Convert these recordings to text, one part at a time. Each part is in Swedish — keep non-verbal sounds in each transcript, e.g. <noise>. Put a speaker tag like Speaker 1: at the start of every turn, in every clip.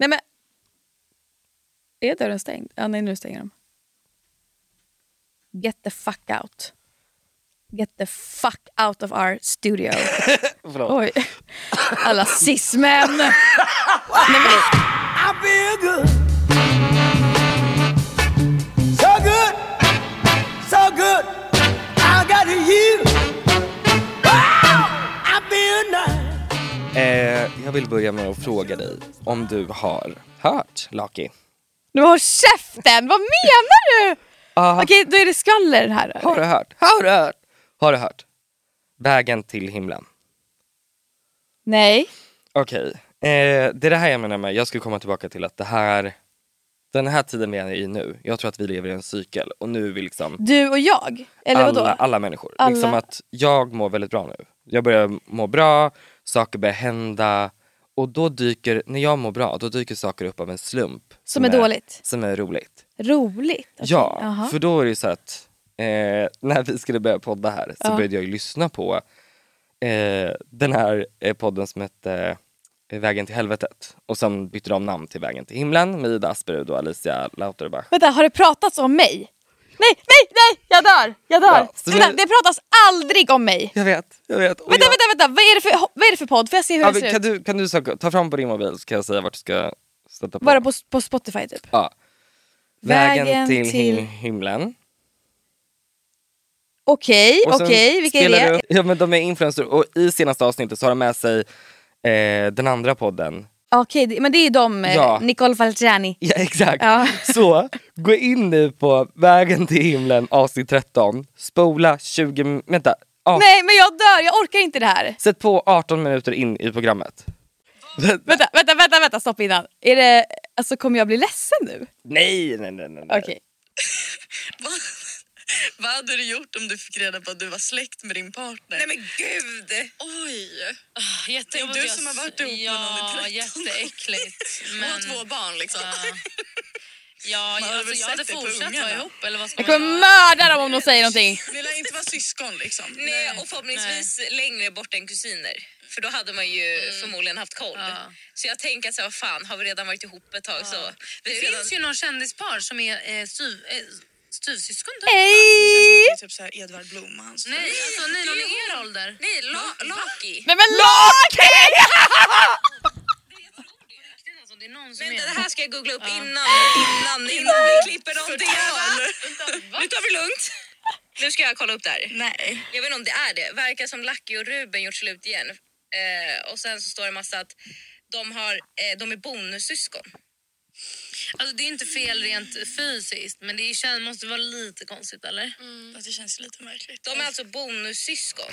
Speaker 1: Nej men... Är dörren stängd? Ja, nej, nu stänger de. Get the fuck out. Get the fuck out of our
Speaker 2: <laughs>
Speaker 1: studio. Oj. Alla cis-män! nej, men...
Speaker 3: I feel good. So good. So good. I got you. Wow. I feel nice.
Speaker 4: Eh, jag vill börja med att fråga dig om du har hört Laki?
Speaker 1: Nu har käften! Vad menar du? Okej, då är det skvaller här. eller?
Speaker 4: Har du hört? Har du hört? Har du hört? Vägen till himlen.
Speaker 1: Nej.
Speaker 4: Okej, eh, det är det här jag menar med, jag skulle komma tillbaka till att det här, den här tiden vi är i nu, jag tror att vi lever i en cykel och nu vill liksom
Speaker 1: Du och jag? Eller vadå?
Speaker 4: alla, alla människor,
Speaker 1: Alla.
Speaker 4: liksom att jag mår väldigt bra nu. Jag börjar må bra, saker börjar hända och då dyker, när jag mår bra, då dyker saker upp av en slump.
Speaker 1: Som är dåligt?
Speaker 4: Som är roligt.
Speaker 1: Roligt? Okej,
Speaker 4: Ja,
Speaker 1: jaha.
Speaker 4: för då är det ju så att eh, <laughs> när vi skulle börja podda här så började jag ju lyssna på eh, den här eh, podden som hette eh, Vägen till helvetet och sen bytte de namn till Vägen till himlen med Ida Asperud och Alicia Lauterbach.
Speaker 1: Vänta, har det pratats om mig? Nej, nej, nej! Jag dör! Jag dör!
Speaker 4: Ja, så
Speaker 1: vänta,
Speaker 4: nu-
Speaker 1: det pratas aldrig om mig!
Speaker 4: Jag vet, jag vet. Och
Speaker 1: Vänta,
Speaker 4: jag,
Speaker 1: vänta, vänta! Vad är, det för, vad är det för podd? Får jag se hur
Speaker 4: Ja,
Speaker 1: det
Speaker 4: men
Speaker 1: ser
Speaker 4: kan
Speaker 1: ut?
Speaker 4: du, kan du söka, ta fram på din mobil så kan jag säga vart du ska stötta på.
Speaker 1: Bara på, på Spotify typ?
Speaker 4: ja. Vägen,
Speaker 1: Vägen
Speaker 4: till, him-
Speaker 1: till-
Speaker 4: himlen.
Speaker 1: Okej,
Speaker 4: Och sen
Speaker 1: okej, vilka är
Speaker 4: spelar
Speaker 1: det?
Speaker 4: du- Ja, men de är influencers och i senaste avsnittet så har de med sig eh, den andra podden
Speaker 1: Okej, det- men det är ju de, eh,
Speaker 4: Ja.
Speaker 1: Nicole Falciani.
Speaker 4: <laughs> Ja exakt.
Speaker 1: Ja.
Speaker 4: Så gå in nu på Vägen till himlen avsnitt 13, spola 20, min- vänta, ja,
Speaker 1: Nej men jag dör, jag orkar inte det här!
Speaker 4: sätt på 18 minuter in i programmet.
Speaker 1: Vänta, vänta, vänta, vänta stopp innan. Är det, alltså kommer jag bli ledsen nu?
Speaker 4: Nej nej nej nej. nej.
Speaker 1: Okej.
Speaker 5: Vad hade du gjort om du fick reda på att du var släkt med din partner? Nej men gud! Oj! Tänk du som har varit ihop med någon i 13 jätteäckligt. Men... <laughs> Och två barn liksom. <laughs> Ja, jag, alltså, jag hade fortsatt vara ihop eller vad ska
Speaker 1: Jag kommer mörda dem om de säger någonting.
Speaker 5: Ni lär inte vara syskon liksom. Nej, Mm. och förhoppningsvis längre bort än kusiner. För då hade man ju förmodligen haft koll. Så jag tänker att så här, vad fan, har vi redan varit ihop ett tag så... Det, finns ju någon kändispar som är eh, styv, eh, styvsyskon typ.
Speaker 1: Hej!
Speaker 5: typ såhär Edvard Blom och hans Nej, alltså ni någon i er ålder. Nej, la, Laki.
Speaker 1: Men, men Laki!
Speaker 5: Det är någon som Vänta, det här ska jag googla upp innan, innan, innan vi klipper någonting. Nu tar vi lugnt. Nu ska jag kolla upp det här. Nej. Jag vet inte om det är det. Verkar som Lucky och Ruben gjort slut igen. Eh, och sen så står det massa att de, har, eh, de är bonussyskon. Alltså det är inte fel rent fysiskt men det måste vara lite konstigt eller? det känns lite märkligt.
Speaker 3: De är alltså bonussyskon.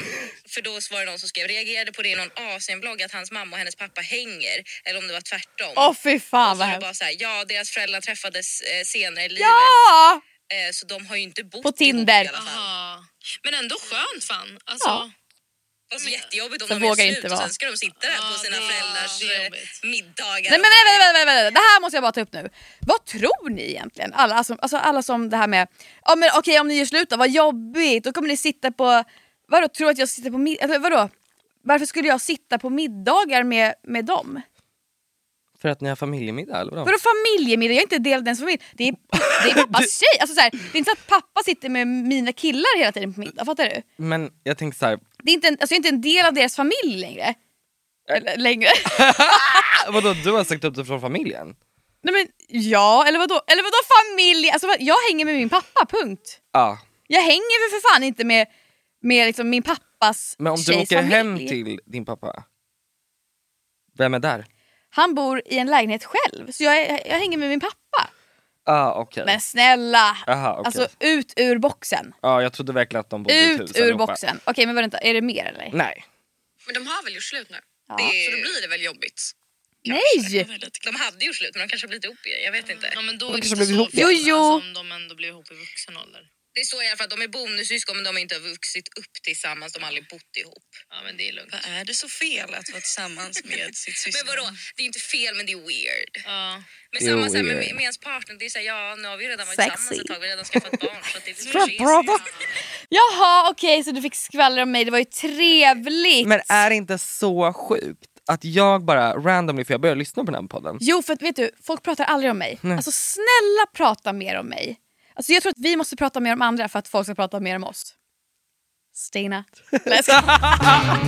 Speaker 3: För då var det någon som skrev, reagerade på det i någon Asienblogg att hans mamma och hennes pappa hänger. Eller om det var tvärtom.
Speaker 1: Åh fy fan
Speaker 3: Så
Speaker 1: vad
Speaker 3: är det
Speaker 1: hemskt.
Speaker 3: Alltså bara så här, ja deras föräldrar träffades eh, senare i livet.
Speaker 1: Ja!
Speaker 3: Eh, så de har ju inte bott
Speaker 1: På Tinder.
Speaker 3: ihop i alla fall.
Speaker 5: Men ändå skönt fan. Alltså,
Speaker 1: Ja.
Speaker 3: Alltså, jättejobbigt om
Speaker 1: Så
Speaker 3: de gör
Speaker 1: vågar
Speaker 3: slut
Speaker 1: inte
Speaker 3: och
Speaker 1: vara.
Speaker 3: sen ska de sitta där på sina
Speaker 5: det-
Speaker 3: föräldrars
Speaker 5: det är
Speaker 3: eh,
Speaker 5: jobbigt.
Speaker 3: middagar.
Speaker 1: Nej men vänta, vänta, vänta, vänta, det här måste jag bara ta upp nu. Vad tror ni egentligen? Alla, alltså, alltså alla som det här med, ja men okej om ni gör slut då, vad jobbigt, då kommer ni sitta på, vadå tror att jag sitter på middag, eller vadå? Varför skulle jag sitta på middagar med, med dem?
Speaker 4: För att ni har familjemiddag eller vadå?
Speaker 1: Vadå familjemiddag? Jag är inte del av ens familj. Det är, det är pappas tjej. Alltså, så här, det är inte så att pappa sitter med mina killar hela tiden på middag, fattar du?
Speaker 4: Men jag tänker så här,
Speaker 1: Det är inte en, alltså, jag är inte en del av deras familj längre. Eller längre? <laughs>
Speaker 4: "Ah, vadå du har sagt upp dig från familjen?
Speaker 1: Nej men ja, eller vadå, eller vadå familj? Alltså, vad- jag hänger med min pappa, punkt.
Speaker 4: Ja.
Speaker 1: Jag hänger för, för fan inte med, med liksom min pappas
Speaker 4: Men om du
Speaker 1: tjejs
Speaker 4: åker
Speaker 1: familj.
Speaker 4: hem typ? till din pappa, vem är där?
Speaker 1: Han bor i en lägenhet själv, så jag, är- jag hänger med min pappa.
Speaker 4: Ah, okej.
Speaker 1: Men snälla!
Speaker 4: Aha, okej.
Speaker 1: Alltså ut ur boxen.
Speaker 4: Ja, jag trodde verkligen att de bodde i ett hus
Speaker 1: Ut ur
Speaker 4: allihopa.
Speaker 1: boxen. Okej men vänta, är det mer eller?
Speaker 4: Nej.
Speaker 5: Men de har väl gjort slut nu?
Speaker 1: Ja.
Speaker 5: Så då blir det väl jobbigt? <laughs>
Speaker 1: Nej!
Speaker 3: De hade gjort slut men de kanske har blivit ihop igen, jag vet inte.
Speaker 5: Ja, men då
Speaker 4: De
Speaker 5: är det
Speaker 4: kanske
Speaker 5: inte
Speaker 4: blev
Speaker 5: så
Speaker 4: ihop
Speaker 5: fel,
Speaker 1: igen. Jo, jo.
Speaker 5: Alltså, om de ändå blev ihop i vuxen ålder.
Speaker 3: Det står i alla fall att de är bonussyskon men de har inte vuxit upp tillsammans, de har aldrig bott ihop.
Speaker 5: Ja, men det är lugnt.
Speaker 6: Är det så fel att vara tillsammans med sitt syskon?
Speaker 3: <laughs> Men vadå, det är inte fel men det är weird.
Speaker 5: Ja.
Speaker 3: Men
Speaker 4: Jo,
Speaker 3: samma så här, med,
Speaker 4: weird.
Speaker 3: med ens partner, det är såhär ja nu har vi ju redan varit
Speaker 1: Sexy.
Speaker 3: tillsammans ett tag, vi har redan skaffat barn. Så att det är
Speaker 1: Bra, bra, bra. Jaha okej så du fick skvaller om mig, det var ju trevligt.
Speaker 4: Men är det inte så sjukt att jag bara randomly, för jag började lyssna på den här podden.
Speaker 1: Jo för att, vet du, folk pratar aldrig om mig. Alltså snälla prata mer om mig. Alltså jag tror att vi måste prata mer om andra för att folk ska prata mer om oss. Stina. Nej, jag skojar.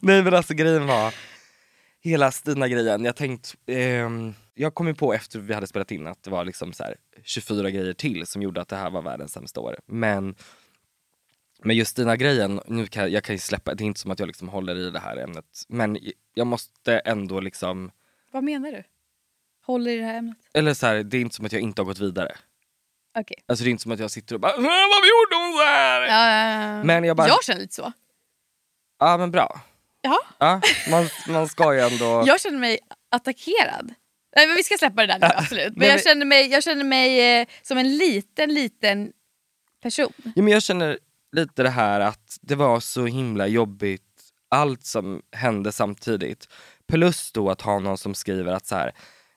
Speaker 4: Nej men alltså grejen var, hela Stina-grejen, jag tänkt, ehm, jag kom ju på efter vi hade spelat in att det var liksom så här 24 grejer till som gjorde att det här var världens sämsta år. Men, men just Stina-grejen, nu kan, jag kan ju släppa, det är inte som att jag liksom håller i det här ämnet, men jag måste ändå liksom,
Speaker 1: Vad menar du? Håller i det här ämnet?
Speaker 4: eller så här, det är inte som att jag inte har gått vidare.
Speaker 1: Okej.
Speaker 4: Alltså det är inte som att jag sitter och bara, "Äh, varför gjorde hon så här? Ja, Men jag bara-
Speaker 1: Ehm, jag känner lite så.
Speaker 4: men bra.
Speaker 1: Ja.
Speaker 4: Ja, man, man ska ju ändå...
Speaker 1: <laughs> Jag känner mig attackerad. Nej, men vi ska
Speaker 4: <laughs>
Speaker 1: släppa det där nu, absolut. Men
Speaker 4: Nej,
Speaker 1: jag
Speaker 4: men-
Speaker 1: känner mig, jag känner mig eh, som en liten, liten person.
Speaker 4: Ja, men jag känner lite det här att det var så himla jobbigt allt som hände samtidigt. Plus då att ha någon som skriver att så här,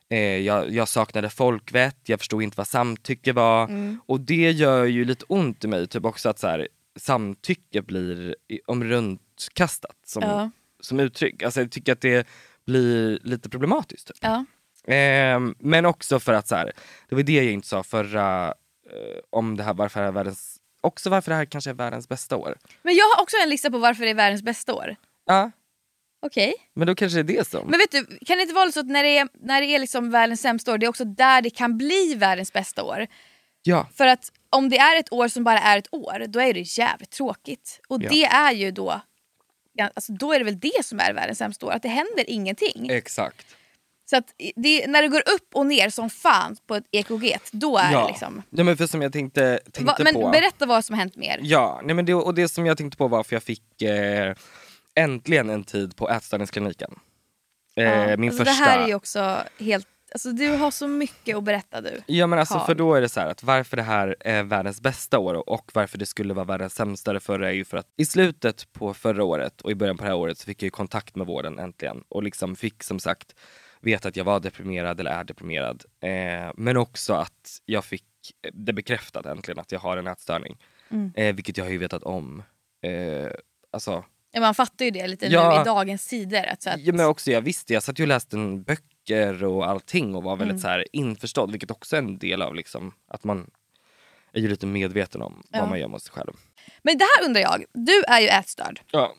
Speaker 4: eh, jag, jag saknade folkvett, jag förstod inte vad samtycke var.
Speaker 1: Mm.
Speaker 4: Och det gör ju lite ont i mig typ också att så här, samtycke blir i- omrundkastat som,
Speaker 1: Ja.
Speaker 4: som uttryck. Alltså, jag tycker att det blir lite problematiskt. Typ.
Speaker 1: Ja.
Speaker 4: Ehm, men också för att så här, det var det jag inte sa förra, eh, om det här varför det här är världens, också varför det här kanske är världens bästa år.
Speaker 1: Men jag har också en lista på varför det är världens bästa år.
Speaker 4: Ja,
Speaker 1: Okej.
Speaker 4: men då kanske det är det som.
Speaker 1: Men vet du, kan det inte vara så att när det är, när det är liksom världens sämsta år, det är också där det kan bli världens bästa år.
Speaker 4: ja,
Speaker 1: För att om det är ett år som bara är ett år, då är det jävligt tråkigt. Och
Speaker 4: Ja.
Speaker 1: det är ju då, ja, alltså då är det väl det som är världens sämsta år, att det händer ingenting.
Speaker 4: exakt.
Speaker 1: Så att det, när det går upp och ner som fan på ett EKG, då är
Speaker 4: ja.
Speaker 1: det liksom...
Speaker 4: ja, men för som jag tänkte, tänkte
Speaker 1: Va, men
Speaker 4: på.
Speaker 1: berätta vad som har hänt mer.
Speaker 4: Ja, nej men det, och det som jag tänkte på var för jag fick eh, äntligen en tid på ätstörningskliniken. Eh,
Speaker 1: Ja,
Speaker 4: min
Speaker 1: alltså,
Speaker 4: första.
Speaker 1: Det här är ju också helt... Alltså, du har så mycket att berätta du.
Speaker 4: Ja men alltså
Speaker 1: Carl.
Speaker 4: för då är det så här att varför det här är världens bästa år och varför det skulle vara världens sämsta det förra är ju för att i slutet på förra året och i början på det här året så fick jag ju kontakt med vården äntligen och liksom fick som sagt veta att jag var deprimerad eller är deprimerad. Eh, men också att jag fick det bekräftat äntligen att jag har en ätstörning. Eh, vilket jag har ju vetat om. Eh, alltså
Speaker 1: Ja, man fattar ju det lite nu
Speaker 4: Ja.
Speaker 1: i dagens tider. Att, så att,
Speaker 4: Ja, men också, jag visste, jag satt ju och läste en böcker och allting och var väldigt
Speaker 1: Mm.
Speaker 4: så här införstådd, vilket också är en del av liksom, att man är ju lite medveten om
Speaker 1: Ja.
Speaker 4: vad man gör mot sig själv.
Speaker 1: men det här undrar jag, du är ju ätstörd.
Speaker 4: Ja.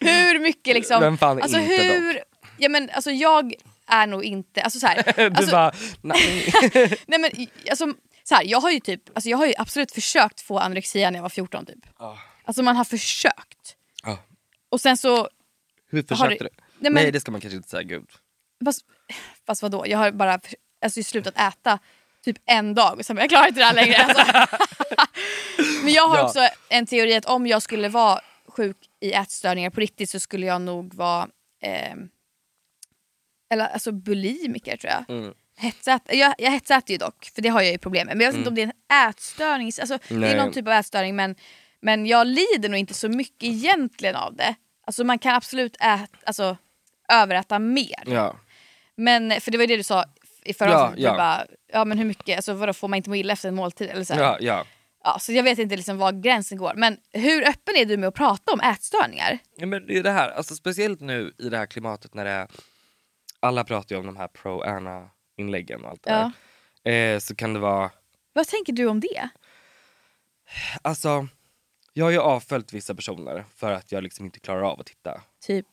Speaker 1: Hur mycket liksom...
Speaker 4: Vem fan är
Speaker 1: alltså,
Speaker 4: inte
Speaker 1: hur, ja, men, alltså jag är nog inte... Alltså, så här,
Speaker 4: <laughs> <laughs> Du
Speaker 1: alltså,
Speaker 4: bara, nej. <laughs>
Speaker 1: Nej men alltså, så här, jag har ju typ, alltså jag har ju absolut försökt få anorexia när jag var 14 typ. Alltså man har försökt.
Speaker 4: Ja.
Speaker 1: Och sen så,
Speaker 4: Hur
Speaker 1: Har
Speaker 4: försökte
Speaker 1: du-
Speaker 4: du?
Speaker 1: Nej, men-
Speaker 4: Nej det ska man kanske inte säga, gud.
Speaker 1: fast, fast vadå, jag har bara alltså, slutat äta typ en dag och sen bara, jag klarar inte det här längre.
Speaker 4: <laughs>
Speaker 1: Alltså. men jag har
Speaker 4: Ja.
Speaker 1: också en teori att om jag skulle vara sjuk i ätstörningar på riktigt så
Speaker 4: Mm.
Speaker 1: skulle jag nog vara eh, eller alltså ehm, bulimiker tror jag. Hetsät, jag, jag hetsäter ju dock, för det har jag ju problem med. Men jag vet inte om det är en ätstörning, alltså, det
Speaker 4: Mm. Nej.
Speaker 1: är någon typ av ätstörning men, men jag lider nog inte så mycket egentligen av det. Alltså man kan absolut äta, alltså, överäta mer.
Speaker 4: Ja.
Speaker 1: Men, för det var ju det du sa i förra
Speaker 4: Ja,
Speaker 1: avsnittet,
Speaker 4: ja.
Speaker 1: Du bara, ja men hur mycket, alltså, vadå, får man inte må illa efter en måltid? Eller så, här.
Speaker 4: Ja, ja.
Speaker 1: Ja, så jag vet inte liksom var gränsen går. Men hur öppen är du med att prata om ätstörningar?
Speaker 4: Ja, men det är det här, alltså, speciellt nu i det här klimatet när det är, alla pratar ju om de här pro-Anna inläggen och allt det
Speaker 1: Ja.
Speaker 4: där. Eh, så kan det vara,
Speaker 1: Vad tänker du om det?
Speaker 4: alltså jag har ju avföljt vissa personer för att jag liksom inte klarar av att titta.
Speaker 1: Typ.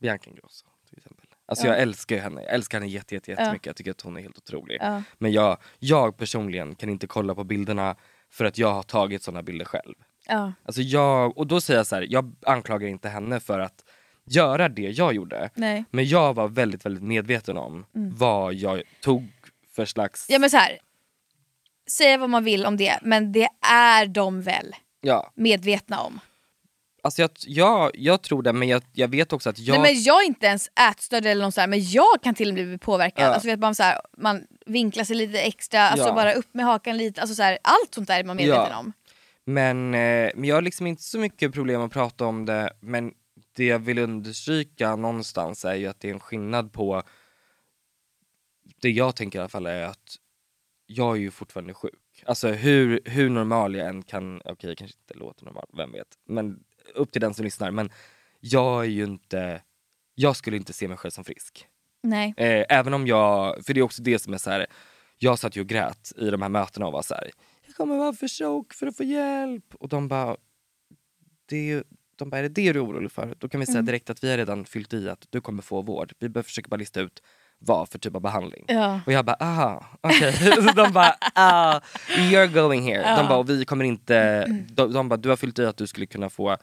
Speaker 4: Bianca Ingrosso till exempel. Alltså jag älskar ju henne, jag älskar henne jätte, jätte, jättemycket. Jag tycker att hon är helt otrolig.
Speaker 1: Ja.
Speaker 4: Men jag, jag personligen kan inte kolla på bilderna för att jag har tagit såna bilder själv.
Speaker 1: Ja.
Speaker 4: Alltså jag, och då säger jag så här, jag anklagar inte henne för att göra det jag gjorde.
Speaker 1: Nej. Mm.
Speaker 4: Men jag var väldigt, väldigt medveten om vad jag tog för slags...
Speaker 1: Ja men så här. Säga vad man vill om det, men det är de väl
Speaker 4: Ja.
Speaker 1: medvetna om.
Speaker 4: Alltså jag, jag, jag tror det, men jag, jag vet också att jag...
Speaker 1: Nej, men jag är inte ens ätstörd eller någon så här, men jag kan till och med bli påverkad.
Speaker 4: Ja.
Speaker 1: Alltså, vet man, så här, man vinklar sig lite extra, alltså,
Speaker 4: Ja.
Speaker 1: bara upp med hakan lite. Alltså, så här, allt sånt där är man medveten
Speaker 4: Ja.
Speaker 1: om.
Speaker 4: Men, eh, men jag har liksom inte så mycket problem att prata om det, men det jag vill understryka någonstans är ju att det är en skillnad på, det jag tänker i alla fall är att jag är ju fortfarande sjuk. Alltså hur, hur normal jag än kan, okej jag kanske inte låter normal, vem vet. Men upp till den som lyssnar, men jag är ju inte, jag skulle inte se mig själv som frisk.
Speaker 1: Nej.
Speaker 4: Eh, även om jag, för det är också det som är så här. jag satt ju och grät i de här mötena och var så här. jag kommer vara för tjock för att få hjälp. Och de bara, det är, ju- de bara, är det det du är orolig för? Då kan vi säga direkt att vi har redan fyllt i att du kommer få vård. Vi behöver försöka bara lista ut vad för typ av behandling.
Speaker 1: Ja.
Speaker 4: Och jag bara, aha, okej. <laughs> Så de bara, ah, you're going here. De bara, och vi kommer inte, de, de bara, du har fyllt i att du skulle kunna få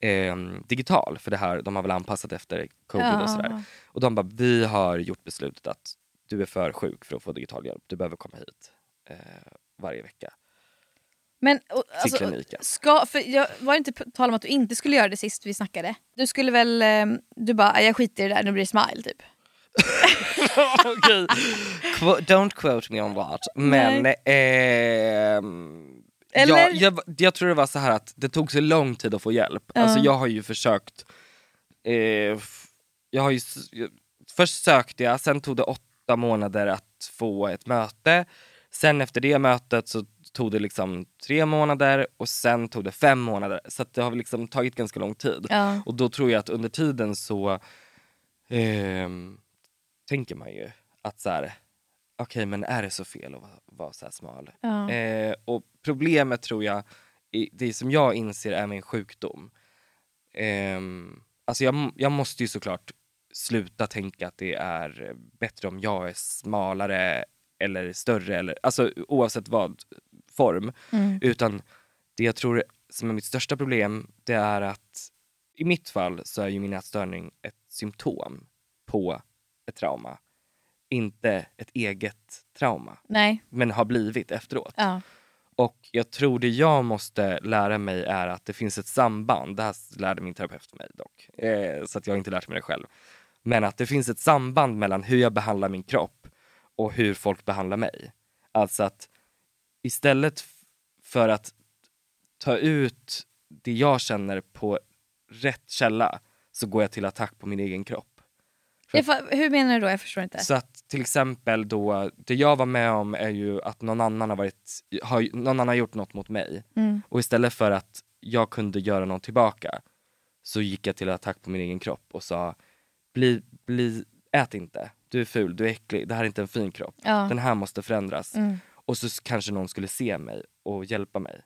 Speaker 4: ehm, digital för det här, de har väl anpassat efter covid och sådär. Och de bara, vi har gjort beslutet att du är för sjuk för att få digital hjälp, du behöver komma hit eh, varje vecka.
Speaker 1: Men, och, alltså,
Speaker 4: kliniken.
Speaker 1: ska, för jag var det inte p- tal om att du inte skulle göra det sist vi snackade. Du skulle väl, ehm, du bara jag skiter i det där, nu blir det smile typ.
Speaker 4: Okej. Qu- don't quote me on that. Men ehm,
Speaker 1: Eller?
Speaker 4: jag, jag, jag tror det var så här att det tog så lång tid att få hjälp. Alltså jag har ju försökt, eh, f- jag har ju, s- jag- först sökte jag, sen tog det åtta månader att få ett möte. Sen efter det mötet så tog det liksom tre månader och sen tog det fem månader. Så att det har liksom tagit ganska lång tid.
Speaker 1: Ja.
Speaker 4: Och då tror jag att under tiden så ehm, tänker man ju att så här, okej men är det så fel att vara, vara så här smal?
Speaker 1: Ja.
Speaker 4: Eh, och problemet tror jag, i- det som jag inser är min sjukdom. Ehm, alltså jag, m- jag måste ju såklart sluta tänka att det är bättre om jag är smalare eller större, eller, alltså oavsett vad form. Utan det jag tror som är mitt största problem, det är att i mitt fall så är ju min ätstörning ett symptom på ett trauma. Inte ett eget trauma,
Speaker 1: Nej.
Speaker 4: men har blivit efteråt.
Speaker 1: Ja.
Speaker 4: Och jag tror det jag måste lära mig är att det finns ett samband. Det här lärde min terapeut mig dock, eh, så att jag har inte lärt mig det själv. Men att det finns ett samband mellan hur jag behandlar min kropp och hur folk behandlar mig. Alltså att istället f- för att ta ut det jag känner på rätt källa så går jag till attack på min egen kropp.
Speaker 1: Jag, fa- hur menar du då? Jag förstår inte.
Speaker 4: Så att till exempel då, det jag var med om är ju att någon annan har, varit, har, någon annan har gjort något mot mig. Och istället för att jag kunde göra något tillbaka så gick jag till attack på min egen kropp och sa bli, bli, ät inte, du är ful, du är äcklig, det här är inte en fin kropp, den här måste förändras. Och så s- kanske någon skulle se mig och hjälpa mig.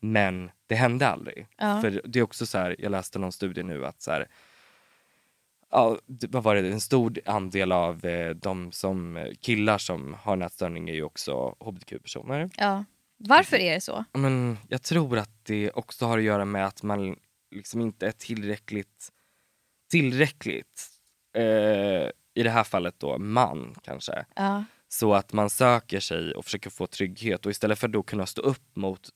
Speaker 4: Men det hände aldrig. För det är också så här, jag läste någon studie nu att så här, ja, det- vad var det, en stor andel av eh, de som, eh, killar som har nätstörning är ju också hbtq-personer.
Speaker 1: Ja. Varför är det så?
Speaker 4: Men jag tror att det också har att göra med att man liksom inte är tillräckligt, tillräckligt, eh, i det här fallet då man kanske.
Speaker 1: Ja.
Speaker 4: Så att man söker sig och försöker få trygghet och istället för att då kunna stå upp mot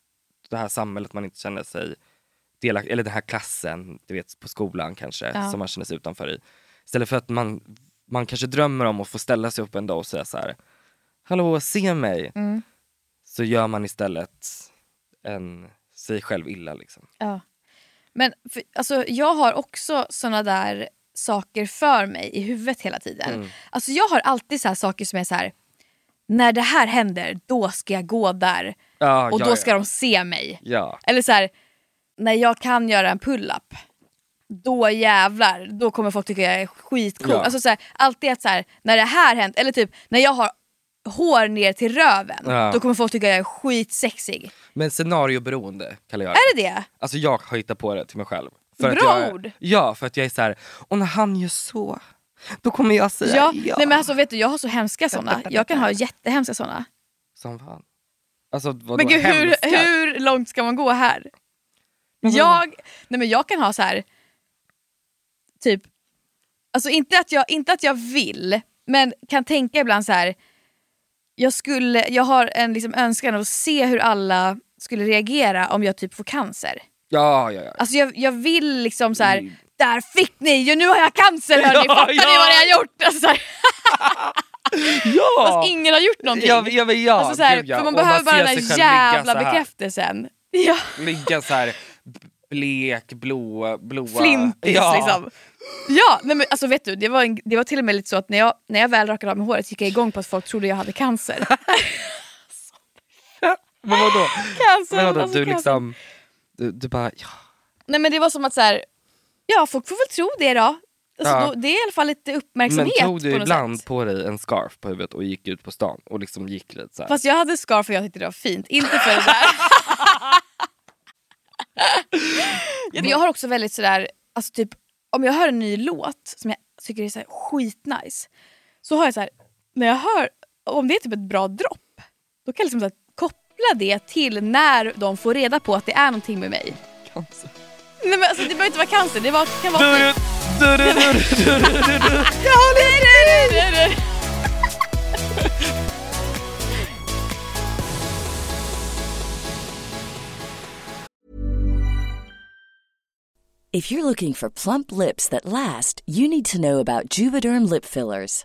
Speaker 4: det här samhället man inte känner sig delaktig eller den här klassen, du vet på skolan kanske, som man känner sig utanför i. Istället för att man man kanske drömmer om att få ställa sig upp en dag och säga så här, hallå se mig.
Speaker 1: Mm.
Speaker 4: Så gör man istället en, sig själv illa liksom.
Speaker 1: Ja. Men för, alltså, jag har också såna där saker för mig i huvudet hela tiden.
Speaker 4: Mm.
Speaker 1: Alltså, jag har alltid så här saker som är så här. när det här händer då ska jag gå där
Speaker 4: Ja,
Speaker 1: och
Speaker 4: ja,
Speaker 1: då ska
Speaker 4: ja.
Speaker 1: de se mig.
Speaker 4: Ja.
Speaker 1: Eller så här, när jag kan göra en pull-up, då jävlar, då kommer folk tycka jag är skitcool.
Speaker 4: Ja.
Speaker 1: Alltså så här, alltid att så här, när det här hänt, eller typ när jag har hår ner till röven,
Speaker 4: Ja.
Speaker 1: då kommer folk tycka jag är skitsexig.
Speaker 4: Men scenarioberoende kallar jag
Speaker 1: Är det det?
Speaker 4: Alltså jag har hittat på det till mig själv.
Speaker 1: Bra
Speaker 4: att jag,
Speaker 1: ord.
Speaker 4: Ja, för att jag är så här, och när han gör så, då kommer jag säga
Speaker 1: Ja.
Speaker 4: ja.
Speaker 1: Nej, men alltså, vet du, jag har så
Speaker 4: <laughs>
Speaker 1: hemska såna. Jag kan ha jättehemska såna.
Speaker 4: Som fan. Alltså vadå,
Speaker 1: Men gud, hur,
Speaker 4: hemska?
Speaker 1: hur långt ska man gå här?
Speaker 4: vadå?
Speaker 1: Jag, nej men jag kan ha så här. typ, alltså inte att, jag, inte att jag vill, men kan tänka ibland så här. jag, skulle, jag har en liksom önskan att se hur alla skulle reagera om jag typ får cancer.
Speaker 4: Ja, ja, ja.
Speaker 1: Alltså jag, jag vill liksom så här. där fick ni ju, nu har jag cancer hörni,
Speaker 4: <laughs> Ja,
Speaker 1: fattar ni
Speaker 4: ja.
Speaker 1: vad ni har gjort? Alltså, så här,
Speaker 4: ja!
Speaker 1: Fast ingen har gjort någonting.
Speaker 4: Ja, ja, men ja,
Speaker 1: alltså, så här,
Speaker 4: gud, ja.
Speaker 1: För
Speaker 4: Och
Speaker 1: man
Speaker 4: man
Speaker 1: behöver bara
Speaker 4: ser
Speaker 1: den
Speaker 4: sig
Speaker 1: där
Speaker 4: själv ligga
Speaker 1: jävla
Speaker 4: så här.
Speaker 1: bekräftelsen. Ja.
Speaker 4: Ligga så här b- blek, blå, blåa.
Speaker 1: flintis.
Speaker 4: ja.
Speaker 1: Liksom. Ja, nej, men alltså vet du, det var, en, det var till och med lite så att när jag, när jag väl rakade av mig håret gick jag igång på att folk trodde jag
Speaker 4: <laughs>
Speaker 1: hade cancer.
Speaker 4: Men vadå?
Speaker 1: cancer
Speaker 4: Men vadå,
Speaker 1: alltså,
Speaker 4: du
Speaker 1: cancer.
Speaker 4: liksom, du, du bara, ja.
Speaker 1: Nej men det var som att så här, ja folk får väl tro det då. Alltså,
Speaker 4: Ja.
Speaker 1: då det är i alla fall lite
Speaker 4: Men
Speaker 1: uppmärksamhet
Speaker 4: tog du
Speaker 1: på något
Speaker 4: ibland
Speaker 1: sätt.
Speaker 4: på dig en scarf på huvudet och gick ut på stan och liksom gick lite så här.
Speaker 1: Fast jag hade scarf och jag tyckte det var fint, inte för det
Speaker 4: <laughs>
Speaker 1: där. men jag har också väldigt sådär, alltså typ om jag hör en ny låt som jag tycker är så här skitnice. Så har jag så här, när jag hör, om det är typ ett bra dropp, då kan jag liksom så här, koppla det till när de får reda på att det är någonting med mig.
Speaker 4: Cancer.
Speaker 1: Nej men alltså det behöver inte vara cancer, det var, kan vara...
Speaker 4: Du, du, du, du, du, du, du, du, du.
Speaker 1: Jag håller i dig!
Speaker 7: If you're looking for plump lips that last, you need to know about Juvederm lip fillers.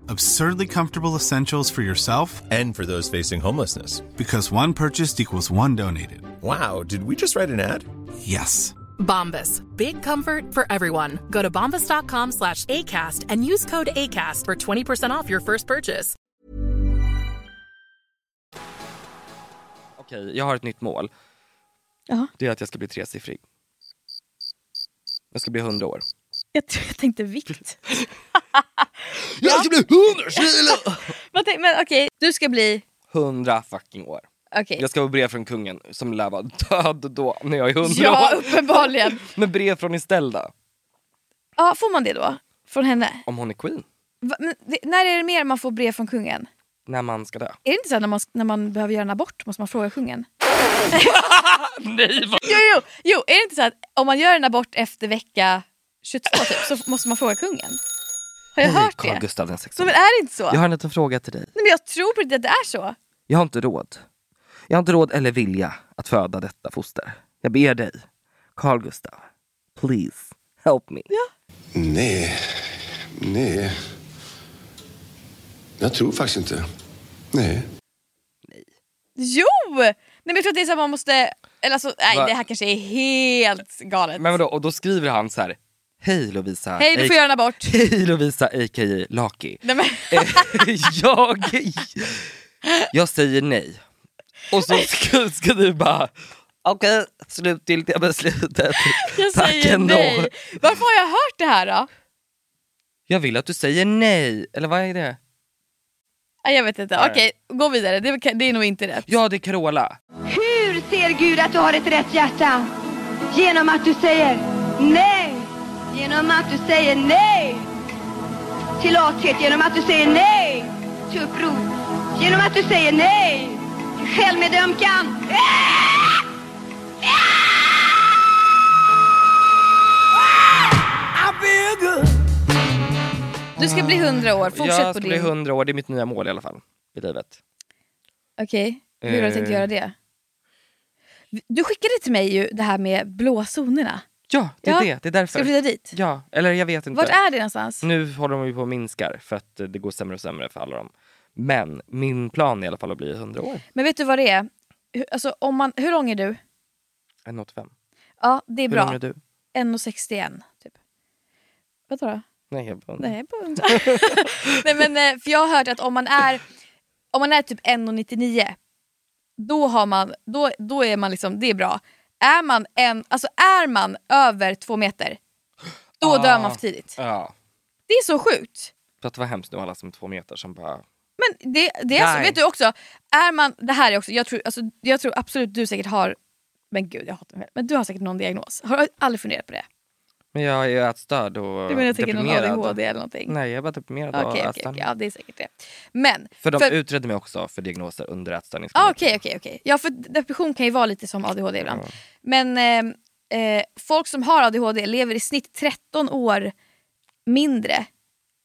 Speaker 8: Absurdly comfortable essentials for yourself
Speaker 9: And for those facing homelessness.
Speaker 8: because one purchased equals one donated.
Speaker 9: Wow, did we just write an ad?
Speaker 8: Yes.
Speaker 10: Bombas. Big comfort for everyone. Go to bombas.com slash ACAST and use code ACAST for 20% off your first purchase.
Speaker 4: Okej, jag har ett nytt mål.
Speaker 1: Ja,
Speaker 4: Det är att jag ska bli tresiffrig. Jag ska bli hundra år.
Speaker 1: jag, tror- jag tänkte vikt.
Speaker 4: Jag ska bli hundra kilo!
Speaker 1: Men, tänk- men okej, du ska bli...
Speaker 4: Hundra fucking år.
Speaker 1: Okej.
Speaker 4: Jag ska få brev från kungen som lär vara död då när jag är hundra
Speaker 1: Ja,
Speaker 4: år.
Speaker 1: uppenbarligen.
Speaker 4: Men brev från Estelle då?
Speaker 1: Ja, får man det då? Från henne?
Speaker 4: Om hon är queen.
Speaker 1: Va, men, det, när är det mer man får brev från kungen?
Speaker 4: När man ska dö.
Speaker 1: Är det inte så här när man, när man behöver göra en abort måste man fråga kungen?
Speaker 4: <laughs> Nej vad...
Speaker 1: Jo, jo, jo, är det inte så att om man gör en abort efter vecka 22 typ, så måste man fråga kungen? Har jag
Speaker 4: Nej,
Speaker 1: hört
Speaker 4: Carl
Speaker 1: det?
Speaker 4: Gustav den
Speaker 1: Nej,
Speaker 4: sextonde.
Speaker 1: men är det inte så?
Speaker 4: Oh Jag har en liten fråga till dig.
Speaker 1: Nej, men jag tror på det att det är så.
Speaker 4: Jag har inte råd. Jag har inte råd eller vilja att föda detta foster. Jag ber dig, Carl Gustav, please help me.
Speaker 11: Nej, nej. Jag tror faktiskt inte. Nej.
Speaker 1: Jo! Nej, men jag tror att det är så här, man måste... Eller alltså, nej,
Speaker 4: Va?
Speaker 1: det här kanske är helt galet.
Speaker 4: Men vadå, och då skriver han så här. Hej Lovisa.
Speaker 1: Hej, du
Speaker 4: a-
Speaker 1: får göra en abort.
Speaker 4: Hej Lovisa a.k.a. Laki.
Speaker 1: Nej, men,
Speaker 4: Eh, <laughs> jag, jag säger nej. Och så ska, ska du bara, okej, slutgiltiga beslutet.
Speaker 1: jag
Speaker 4: Tack
Speaker 1: säger
Speaker 4: ändå.
Speaker 1: nej. Varför har jag hört det här då?
Speaker 4: Jag vill att du säger nej. Eller vad är det?
Speaker 1: Nej, Ah, Jag vet inte.
Speaker 4: Nej.
Speaker 1: Okej, gå vidare. Det, är- det är nog inte rätt.
Speaker 4: Ja, det är Carola.
Speaker 12: Hur ser Gud att du har ett rätt hjärta? Genom att du säger nej. Genom att du säger nej. Till lathet. Genom att du säger nej. Till uppror. Genom att du säger nej. Till självmedömkan.
Speaker 1: Du ska bli 100 år. Fortsätt
Speaker 4: jag
Speaker 1: på
Speaker 4: ska
Speaker 1: din...
Speaker 4: bli 100 år, det är mitt nya mål i alla fall. I livet.
Speaker 1: Okej, hur har du tänkt
Speaker 4: Eh.
Speaker 1: göra det? Du skickade till mig ju det här med blåzonerna.
Speaker 4: Ja, Det är det, det är därför.
Speaker 1: Ska du flytta dit?
Speaker 4: Ja, eller jag vet inte.
Speaker 1: Vart är det någonstans?
Speaker 4: Nu håller de ju på att minska för att eh, det går sämre och sämre för alla dem. Men min plan är i alla fall att bli 100 år.
Speaker 1: Men vet du vad det är? Hur- Alltså, om man, hur lång är du?
Speaker 4: 1,85.
Speaker 1: Ja, det är
Speaker 4: Hur
Speaker 1: bra.
Speaker 4: lång är du?
Speaker 1: 1,61 typ. Vadå då?
Speaker 4: Nej, jag bara...
Speaker 1: Nej, jag bara undrar. <laughs> Nej, men, eh, för jag har hört att om man är, om man är typ 1,99 då, har man, då, då är man liksom, det är bra. Är man, en, alltså är man över två meter, då
Speaker 4: Ah.
Speaker 1: dör man för tidigt.
Speaker 4: Ja.
Speaker 1: Det är så sjukt.
Speaker 4: För att det var hemskt nu alla som är två meter som bara...
Speaker 1: Men det, det är så,
Speaker 4: Nej.
Speaker 1: vet du också, är man, det här är också, jag tror, alltså, jag tror absolut du säkert har, men gud jag hatar mig själv, men du har säkert någon diagnos. Har du aldrig funderat på det?
Speaker 4: Men jag är ju ätstörd och
Speaker 1: Du menar jag tänker någon
Speaker 4: deprimerad.
Speaker 1: ADHD eller någonting?
Speaker 4: Nej, jag är bara deprimerad
Speaker 1: Okej,
Speaker 4: och
Speaker 1: okej,
Speaker 4: ätstörd.
Speaker 1: okej, ja det är säkert det. Men,
Speaker 4: För de
Speaker 1: för-
Speaker 4: utredde mig också för diagnoser under ätstörning.
Speaker 1: Ah, Okej, okej, okej. Ja, för depression kan ju vara lite som ADHD ibland. Men eh, eh, folk som har ADHD lever i snitt 13 år mindre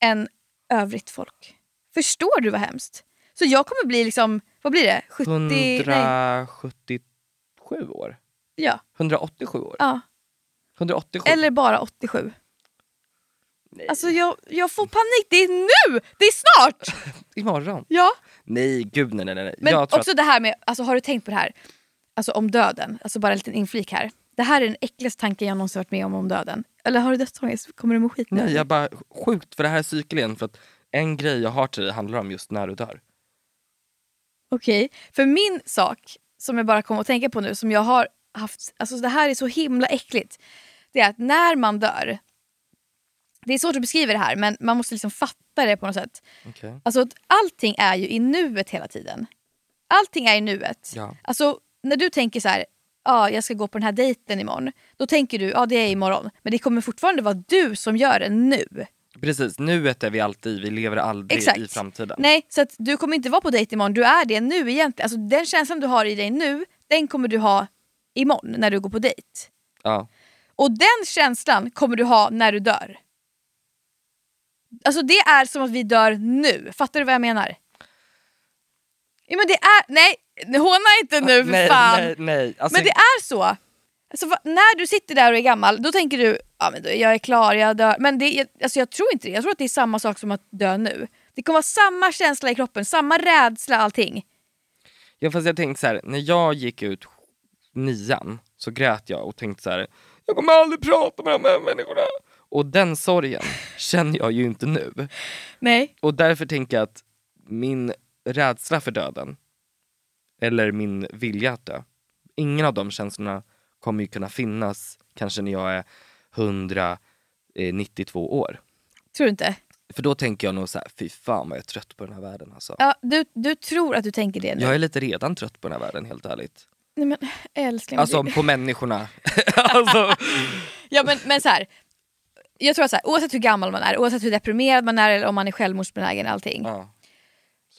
Speaker 1: än övrigt folk. Förstår du vad hemskt? Så jag kommer bli liksom, vad blir det? 70... Nej,
Speaker 4: 177 år?
Speaker 1: ja,
Speaker 4: 187 år?
Speaker 1: ja.
Speaker 4: 187?
Speaker 1: Eller bara 87. Alltså jag, jag får panik, det är nu! Det är snart!
Speaker 4: Imorgon?
Speaker 1: Ja.
Speaker 4: Nej, gud nej nej nej.
Speaker 1: Men
Speaker 4: jag tror
Speaker 1: också
Speaker 4: att...
Speaker 1: det här med, alltså, har du tänkt på det här? Alltså om döden, alltså bara en liten inflik här. Det här är den äckligaste tanken jag någonsin varit med om om döden. Eller har du dödsångest? Kommer du må skit nu?
Speaker 4: Nej, jag bara sjukt för det här är cykeln. För att en grej jag har till dig handlar om just när du dör.
Speaker 1: Okej, för min sak som jag bara kom att tänka på nu som jag har haft, alltså det här är så himla äckligt. Det är att när man dör, det är svårt att beskriva det här men man måste liksom fatta det på något sätt.
Speaker 4: Okej.
Speaker 1: Alltså att allting är ju i nuet hela tiden. Allting är i nuet.
Speaker 4: Ja.
Speaker 1: Alltså när du tänker så här, ja jag ska gå på den här dejten imorgon. Då tänker du, ja det är imorgon. Men det kommer fortfarande vara du som gör det nu.
Speaker 4: Precis, nuet är vi alltid i. Vi lever aldrig
Speaker 1: Exakt.
Speaker 4: i framtiden.
Speaker 1: Nej, så att du kommer inte vara på dejt imorgon, du är det nu egentligen. Alltså den känslan du har i dig nu, den kommer du ha imorgon när du går på dejt.
Speaker 4: Ja.
Speaker 1: Och den känslan kommer du ha när du dör. Alltså det är som att vi dör nu, fattar du vad jag menar? Ja, men det är, nej, håna inte nu för
Speaker 4: nej,
Speaker 1: fan!
Speaker 4: nej, nej. Alltså,
Speaker 1: men det är så! Alltså, va- när du sitter där och är gammal, då tänker du ja, men då, jag är klar, jag dör. Men det, jag, alltså, jag tror inte det. Jag tror att det är samma sak som att dö nu. Det kommer vara samma känsla i kroppen, samma rädsla, allting.
Speaker 4: Ja fast jag tänkte så här, när jag gick ut nian så grät jag och tänkte så här, jag kommer aldrig prata med de här människorna. Och den sorgen känner jag ju inte nu.
Speaker 1: Nej.
Speaker 4: Och därför tänker jag att min rädsla för döden, eller min vilja att dö, ingen av de känslorna kommer ju kunna finnas kanske när jag är 192 år.
Speaker 1: Tror du inte?
Speaker 4: För då tänker jag nog så här, fy fan vad jag är trött på den här världen alltså.
Speaker 1: Ja, du, du tror att du tänker det nu.
Speaker 4: Jag är lite redan trött på den här världen helt ärligt.
Speaker 1: Nej, men, älskling,
Speaker 4: Alltså
Speaker 1: det-
Speaker 4: på människorna. <laughs> alltså,
Speaker 1: Ja men, men så här. jag tror att så här, oavsett hur gammal man är, oavsett hur deprimerad man är eller om man är självmordsbenägen allting.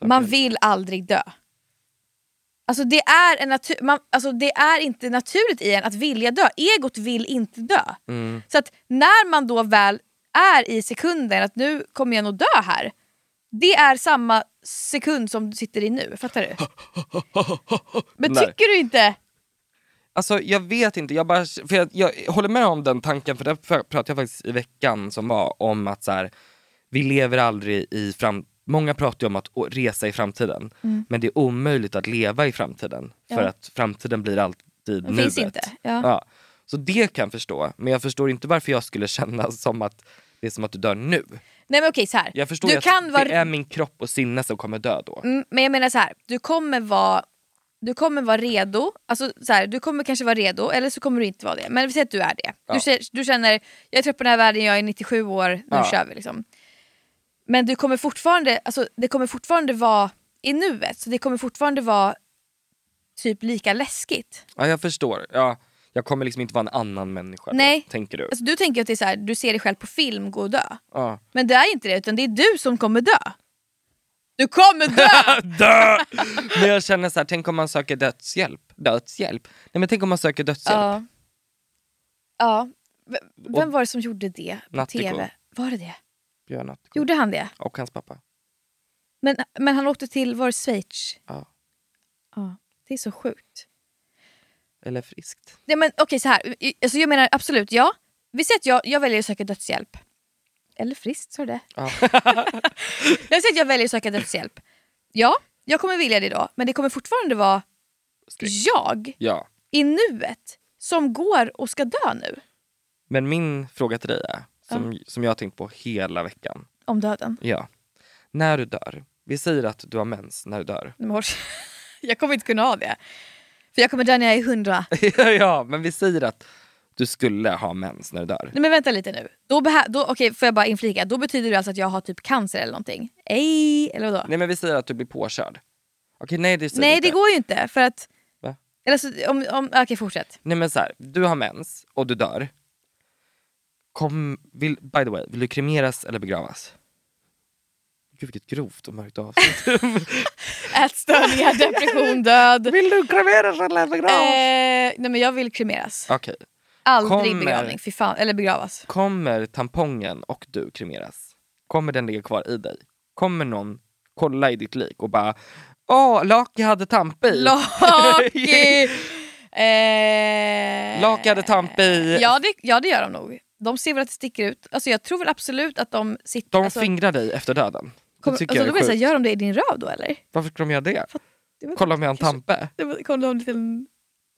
Speaker 1: Man vill aldrig dö. Alltså det, är en natur- man, alltså det är inte naturligt i en att vilja dö. Egot vill inte dö.
Speaker 4: Mm.
Speaker 1: Så att när man då väl är i sekunden att nu kommer jag nog dö här. Det är samma sekund som du sitter i nu,
Speaker 4: <laughs>
Speaker 1: fattar du? Men
Speaker 4: Nej.
Speaker 1: tycker du inte?
Speaker 4: Alltså jag vet inte, jag, bara, för jag, jag håller med om den tanken för det pr- pratade jag faktiskt i veckan som var om att så här, vi lever aldrig i fram Många pratar ju om att å- resa i framtiden
Speaker 1: Mm.
Speaker 4: men det är omöjligt att leva i framtiden för
Speaker 1: Ja.
Speaker 4: att framtiden blir alltid
Speaker 1: Den
Speaker 4: nuet.
Speaker 1: finns inte, ja.
Speaker 4: Så det kan jag förstå men jag förstår inte varför jag skulle <laughs> känna som att det är som att du dör nu.
Speaker 1: Nej men okej så här.
Speaker 4: Jag förstår
Speaker 1: Du
Speaker 4: ju att
Speaker 1: kan
Speaker 4: det
Speaker 1: vara-
Speaker 4: är min kropp och sinne som kommer dö då.
Speaker 1: Mm, Men jag menar så här, du kommer vara du kommer vara redo, alltså så här, du kommer kanske vara redo eller så kommer du inte vara det. Men vi säger att du är det.
Speaker 4: Ja.
Speaker 1: Du, känner, du känner, jag är trött på den här världen, jag är 97 år, nu
Speaker 4: Ja.
Speaker 1: kör vi liksom. Men du kommer fortfarande, alltså, det kommer fortfarande vara i nuet, så det kommer fortfarande vara typ lika läskigt.
Speaker 4: Ja jag förstår, ja, jag kommer liksom inte vara en annan människa
Speaker 1: Nej.
Speaker 4: då, tänker du.
Speaker 1: Alltså, du tänker att det är så här, du ser dig själv på film gå och dö.
Speaker 4: Ja.
Speaker 1: Men det är inte det, utan det är du som kommer dö. Du
Speaker 4: <laughs>
Speaker 1: kommer dö!
Speaker 4: Dö! Men jag känner så här, tänk om man söker dödshjälp. Dödshjälp? Nej men tänk om man söker dödshjälp.
Speaker 1: Ja. ja. V- Vem
Speaker 4: typ. Och-
Speaker 1: var det som gjorde det på
Speaker 4: Natthiko.
Speaker 1: tv? Var det det?
Speaker 4: Björn Attergård.
Speaker 1: Gjorde han det?
Speaker 4: Och hans pappa.
Speaker 1: Men, men han åkte till, var det Schweiz?
Speaker 4: Ja.
Speaker 1: ja. Det är så sjukt.
Speaker 4: Eller friskt.
Speaker 1: Ja, men, okej, så här. I- Alltså, jag menar absolut, ja. Vi säger att jag, jag väljer att söka dödshjälp. Eller friskt, sa du det?
Speaker 4: Ja.
Speaker 1: <laughs> jag säger att jag väljer att söka dödshjälp. Ja, jag kommer vilja det då, men det kommer fortfarande vara jag
Speaker 4: Ja.
Speaker 1: i nuet som går och ska dö nu.
Speaker 4: Men min fråga till dig är, som, som jag har tänkt på hela veckan.
Speaker 1: Om döden.
Speaker 4: Ja. När du dör, vi säger att du har mens när du dör. <laughs>
Speaker 1: Men håll- <laughs> Jag kommer inte kunna ha det. För jag kommer dö när jag är hundra.
Speaker 4: ja, men vi säger att du skulle ha mens när du dör.
Speaker 1: Nej men vänta lite nu. Då, behä- då okay, får jag bara inflika, då betyder det alltså att jag har typ cancer eller någonting? Ej, eller vadå?
Speaker 4: Nej men vi säger att du blir påkörd. Okej, nej det säger vi
Speaker 1: Nej
Speaker 4: inte.
Speaker 1: det går ju inte för att...
Speaker 4: Va?
Speaker 1: Eller alltså, om, om, okej fortsätt.
Speaker 4: Nej men så här, du har mens och du dör. Kom, vill, by the way, vill du kremeras eller begravas? Gud vilket grovt och mörkt avsnitt.
Speaker 1: <laughs> Ätstörningar, depression,
Speaker 4: <laughs>
Speaker 1: död.
Speaker 4: Vill du kremeras eller begravas?
Speaker 1: Eh, nej men jag vill kremeras.
Speaker 4: Okej.
Speaker 1: Aldrig
Speaker 4: Kommer-
Speaker 1: begravning, fy fan. Eller begravas.
Speaker 4: Kommer tampongen och du kremeras? Kommer den ligga kvar i dig? Kommer någon kolla i ditt lik och bara Åh, Laki hade tamp i!
Speaker 1: Laki! <laughs> eh,
Speaker 4: Laki hade tamp i!
Speaker 1: ja, det, ja det gör de nog. De ser väl att det sticker ut. Alltså jag tror väl absolut att de sitter...
Speaker 4: De
Speaker 1: alltså,
Speaker 4: fingrar dig efter döden.
Speaker 1: kommer-
Speaker 4: det tycker
Speaker 1: alltså, då
Speaker 4: jag
Speaker 1: blir
Speaker 4: är
Speaker 1: jag så här,
Speaker 4: sjukt.
Speaker 1: gör de det i din röv då eller?
Speaker 4: Varför ska de göra det?
Speaker 1: Det var-
Speaker 4: Kolla om jag har en tampe?
Speaker 1: Det var- Kolla om liten...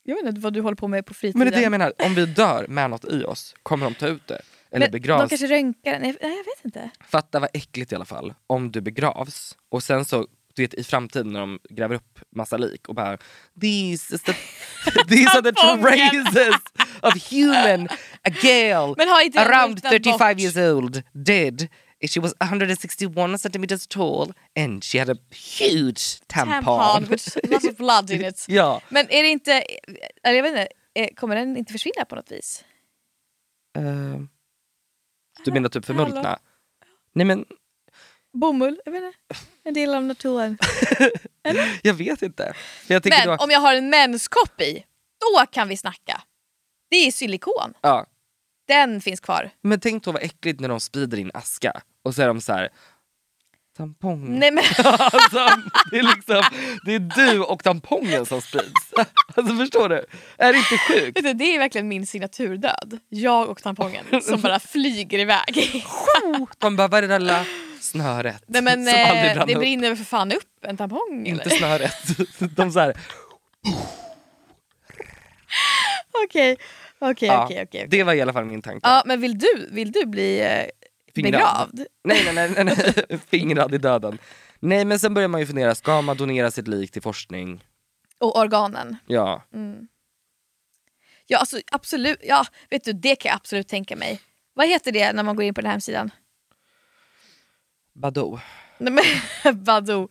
Speaker 1: Jag vet inte vad du håller på med på fritiden.
Speaker 4: Men det är det jag menar, om vi dör med något i oss, kommer de ta ut det? Eller
Speaker 1: Men De
Speaker 4: begravas?
Speaker 1: kanske röntgar den. Nej, nej, jag vet inte.
Speaker 4: Fatta vad äckligt i alla fall, om du begravs och sen så, du vet i framtiden när de gräver upp massa lik och bara These, is the, <laughs> these are the
Speaker 1: <laughs>
Speaker 4: two races of human, a girl
Speaker 1: Men har inte de
Speaker 4: around
Speaker 1: räknat
Speaker 4: 35
Speaker 1: bort-
Speaker 4: years old, dead. She was 161 centimeters tall and she had a huge tampon.
Speaker 1: with lots of blood in it.
Speaker 4: ja.
Speaker 1: Men är det inte... Eller jag vet inte. eh, Kommer den inte försvinna på något vis?
Speaker 4: <laughs> Eh, du menar typ
Speaker 1: Hallå?
Speaker 4: förmultna? Nej men
Speaker 1: Bomull? Jag vet inte. En del av naturen.
Speaker 4: jag vet inte. För Jag tänker
Speaker 1: Men
Speaker 4: då,
Speaker 1: om jag har en menskopp i, då kan vi snacka. Det är silikon.
Speaker 4: ja,
Speaker 1: Den finns kvar.
Speaker 4: men tänk då vad äckligt när de sprider in aska och så är de så här tampong.
Speaker 1: Nej, men...
Speaker 4: <laughs> alltså, det, är liksom, det är du och tampongen som sprids. <laughs> Alltså förstår du? Är det inte sjukt?
Speaker 1: Vet du, <laughs> det är verkligen min signaturdöd. Jag och
Speaker 4: <laughs>
Speaker 1: tampongen som bara flyger iväg.
Speaker 4: De bara, var är det där lilla snöret?
Speaker 1: Nej, men,
Speaker 4: som aldrig
Speaker 1: eh,
Speaker 4: brann
Speaker 1: det
Speaker 4: upp.
Speaker 1: brinner väl för fan upp en tampong?
Speaker 4: Inte
Speaker 1: eller?
Speaker 4: snöret. <laughs> De så här,
Speaker 1: <laughs> Okej, okej,
Speaker 4: ja,
Speaker 1: okej. okej.
Speaker 4: Det var i alla fall min tanke.
Speaker 1: Ja, men vill du, vill du bli eh,
Speaker 4: Fingrad.
Speaker 1: begravd?
Speaker 4: Nej, nej, nej, nej, nej. <laughs> Fingrad i döden. Nej men sen börjar man ju fundera, ska man donera sitt lik till forskning?
Speaker 1: Och organen?
Speaker 4: Ja.
Speaker 1: Mm. Ja, alltså, absolut. Ja, vet du, det kan jag absolut tänka mig. Vad heter det när man går in på den här hemsidan?
Speaker 4: Badoo.
Speaker 1: Nej, men, <laughs> Badoo.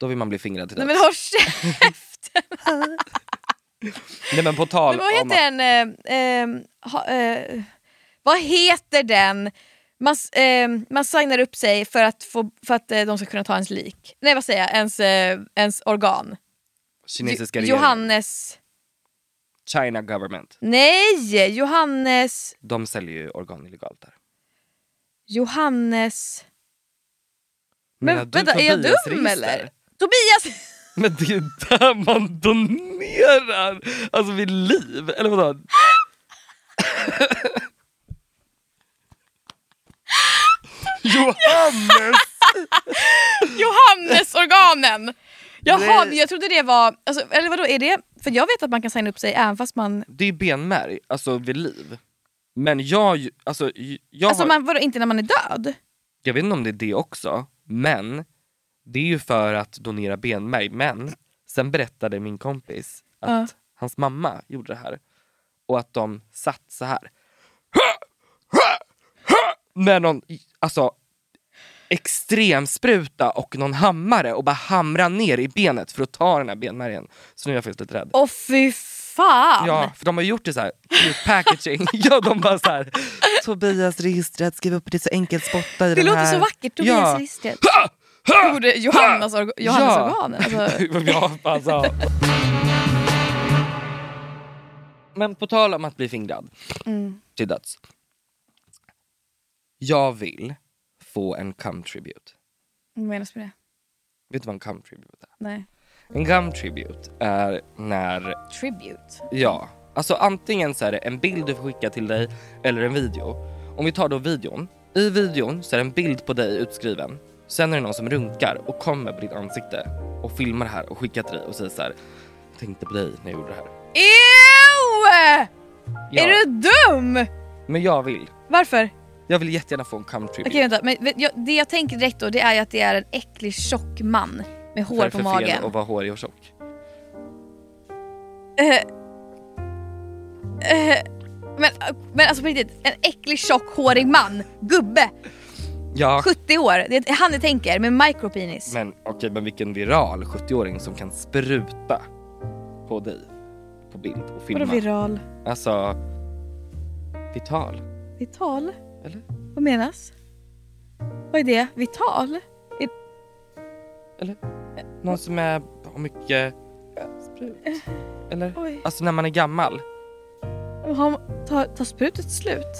Speaker 4: Då vill man bli fingrad till
Speaker 1: Nej
Speaker 4: döds.
Speaker 1: men håll käften.
Speaker 4: Nej men på tal
Speaker 1: Men Vad
Speaker 4: om att-
Speaker 1: heter den? ehm, Eh, eh, ha, eh, Vad heter den? Man, eh, man signar upp sig för att, få, för att eh, de ska kunna ta ens lik. Nej vad säger jag, ens, eh, ens organ.
Speaker 4: Kinesiska
Speaker 1: Jo-
Speaker 4: regeringen.
Speaker 1: Johannes...
Speaker 4: China government.
Speaker 1: Nej! Johannes...
Speaker 4: De säljer ju organ illegalt där.
Speaker 1: Johannes...
Speaker 4: Menar
Speaker 1: Men
Speaker 4: du
Speaker 1: vänta, är jag
Speaker 4: Tobias
Speaker 1: dum
Speaker 4: register?
Speaker 1: eller? Tobias! <laughs>
Speaker 4: Men det är där man donerar! Alltså vid liv, eller
Speaker 1: <laughs>
Speaker 4: vadå? Johannes!
Speaker 1: Johannesorganen! Jaha,
Speaker 4: Nej.
Speaker 1: men jag trodde det var... Alltså, eller vadå, är det... För jag vet att man kan signa upp sig även fast man...
Speaker 4: Det är benmärg, alltså vid liv. Men jag, ju- alltså, ju- jag,
Speaker 1: Alltså
Speaker 4: har,
Speaker 1: man, vadå, inte när man är död?
Speaker 4: jag vet inte om det är det också, men det är ju för att donera benmärg. Men sen berättade min kompis att
Speaker 1: Ja.
Speaker 4: hans mamma gjorde det här och att de satt så här. Med någon, alltså extremspruta och någon hammare och bara hamra ner i benet för att ta den här benmärgen. Så nu är jag faktiskt lite rädd.
Speaker 1: Åh fy fan!
Speaker 4: Ja, för de har gjort det så här i packaging. <laughs> ja, de bara så
Speaker 1: <laughs>
Speaker 4: här. Tobias registret, skriv upp det så enkelt, spotta i
Speaker 1: Det
Speaker 4: den
Speaker 1: låter
Speaker 4: här.
Speaker 1: så vackert,
Speaker 4: Ja.
Speaker 1: Tobias registret. Gjorde Johannes, orga, Johannes
Speaker 4: Ja.
Speaker 1: <laughs> organen.
Speaker 4: <laughs>
Speaker 1: Alltså,
Speaker 4: ja, alltså. Men på tal om att bli fingrad
Speaker 1: mm.
Speaker 4: till döds. Jag vill få en cum tribute.
Speaker 1: Vad menas med det?
Speaker 4: Vet du vad en cum tribute är?
Speaker 1: Nej.
Speaker 4: En gum tribute är när...
Speaker 1: Tribute?
Speaker 4: Ja. Alltså antingen så är det en bild du får skicka till dig eller en video. Om vi tar då videon. I videon så är det en bild på dig utskriven. Sen är det någon som runkar och kommer på ditt ansikte och filmar det här och skickar till dig och säger så här. Jag tänkte på dig när jag gjorde det här.
Speaker 1: Ew!
Speaker 4: Ja.
Speaker 1: Är du dum?
Speaker 4: Men jag vill.
Speaker 1: Varför?
Speaker 4: Jag vill jättegärna få en cum tribute.
Speaker 1: Okej vänta, men, vet- jag, det jag tänker direkt då det är ju att det är en äcklig tjock man med
Speaker 4: Vad
Speaker 1: hår
Speaker 4: är det
Speaker 1: på
Speaker 4: för
Speaker 1: magen.
Speaker 4: fel att vara hårig och tjock?
Speaker 1: Eh, eh, men, men alltså på riktigt, en äcklig tjock hårig man, gubbe,
Speaker 4: Ja.
Speaker 1: 70 år. Det är han jag tänker med micropenis.
Speaker 4: Men okej, men vilken viral 70-åring som kan spruta på dig på bild och filma.
Speaker 1: Vadå viral?
Speaker 4: Alltså, vital.
Speaker 1: Vital?
Speaker 4: Eller?
Speaker 1: Vad menas? Vad är det? Vital? Är...
Speaker 4: Någon som är, har mycket sprut. <laughs> Eller?
Speaker 1: Oj.
Speaker 4: Alltså när man är gammal.
Speaker 1: Har, tar, tar sprutet slut?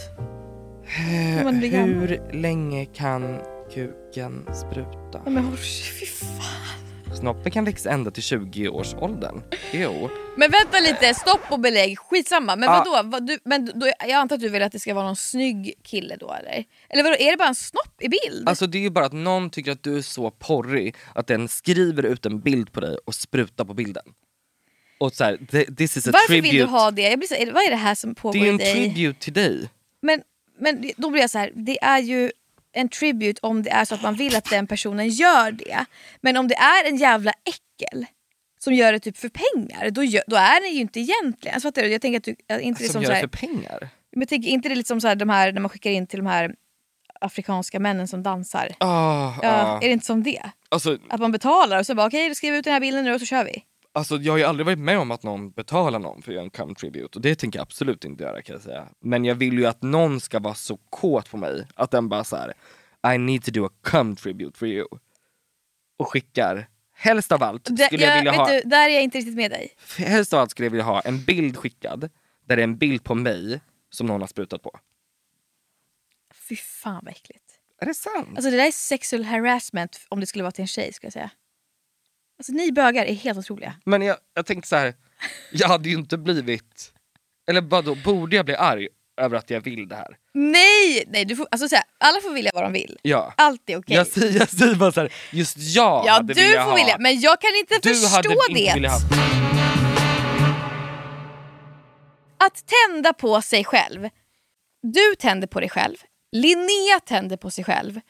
Speaker 4: Eh,
Speaker 1: När man blir gammal.
Speaker 4: Hur länge kan kuken spruta?
Speaker 1: Nej, Men, oh, fy fan.
Speaker 4: Snoppen kan växa ända till 20-årsåldern. Jo.
Speaker 1: men vänta lite, stopp och belägg, skitsamma. Men
Speaker 4: Ah.
Speaker 1: vadå? Vad, du, men då, jag antar att du vill att det ska vara någon snygg kille då eller? Eller vadå, är det bara en snopp i bild?
Speaker 4: Alltså det är ju bara att någon tycker att du är så porrig att den skriver ut en bild på dig och sprutar på bilden. Och så här, "Th- this is a
Speaker 1: Varför
Speaker 4: tribute.
Speaker 1: vill du ha det? Jag blir så, är det- vad är det här som
Speaker 4: det
Speaker 1: pågår
Speaker 4: är ju
Speaker 1: i
Speaker 4: en
Speaker 1: dig?
Speaker 4: tribute till dig.
Speaker 1: Men, men då blir jag så här, det är ju en tribute om det är så att man vill att den personen gör det. Men om det är en jävla äckel som gör det typ för pengar, då, gör, då är det ju inte egentligen... Alltså, fattar du? Jag tänker att du, jag- inte det
Speaker 4: Som,
Speaker 1: är som
Speaker 4: gör
Speaker 1: så
Speaker 4: det
Speaker 1: här,
Speaker 4: för pengar.
Speaker 1: men jag tänker inte det är lite som så här, de här, när man skickar in till de här afrikanska männen som dansar.
Speaker 4: Ah,
Speaker 1: Ja,
Speaker 4: ah.
Speaker 1: är det inte som det?
Speaker 4: Alltså,
Speaker 1: Att man betalar och så bara okej, du skriver ut den här bilden nu och så kör vi.
Speaker 4: alltså, jag har ju aldrig varit med om att någon betalar någon för att göra en come tribute och det tänker jag absolut inte göra kan jag säga. Men jag vill ju att någon ska vara så kåt på mig att den bara så här: I need to do a come tribute for you. Och skickar, helst av allt
Speaker 1: Där-
Speaker 4: skulle jag vilja
Speaker 1: vet
Speaker 4: ha
Speaker 1: du, där är jag inte riktigt med dig.
Speaker 4: helst av allt skulle jag vilja ha en bild skickad där det är en bild på mig som någon har sprutat på.
Speaker 1: Fy fan vad äckligt.
Speaker 4: Är det sant?
Speaker 1: Alltså det där är sexual harassment om det skulle vara till en tjej skulle jag säga. Alltså ni bögar är helt otroliga.
Speaker 4: Men jag, jag tänkte så här, jag hade ju inte blivit... Eller vadå, borde jag bli arg över att jag vill det här?
Speaker 1: Nej! nej du får, alltså, så här, alla får vilja vad de vill.
Speaker 4: Ja.
Speaker 1: Allt är okej.
Speaker 4: Jag, säger, jag säger bara så här, just jag
Speaker 1: Ja
Speaker 4: hade
Speaker 1: du
Speaker 4: velat
Speaker 1: får
Speaker 4: ha.
Speaker 1: vilja men jag kan inte
Speaker 4: du
Speaker 1: förstå
Speaker 4: hade inte
Speaker 1: det.
Speaker 4: velat ha.
Speaker 1: Att tända på sig själv. Du tänder på dig själv. Linnea tänder på sig själv.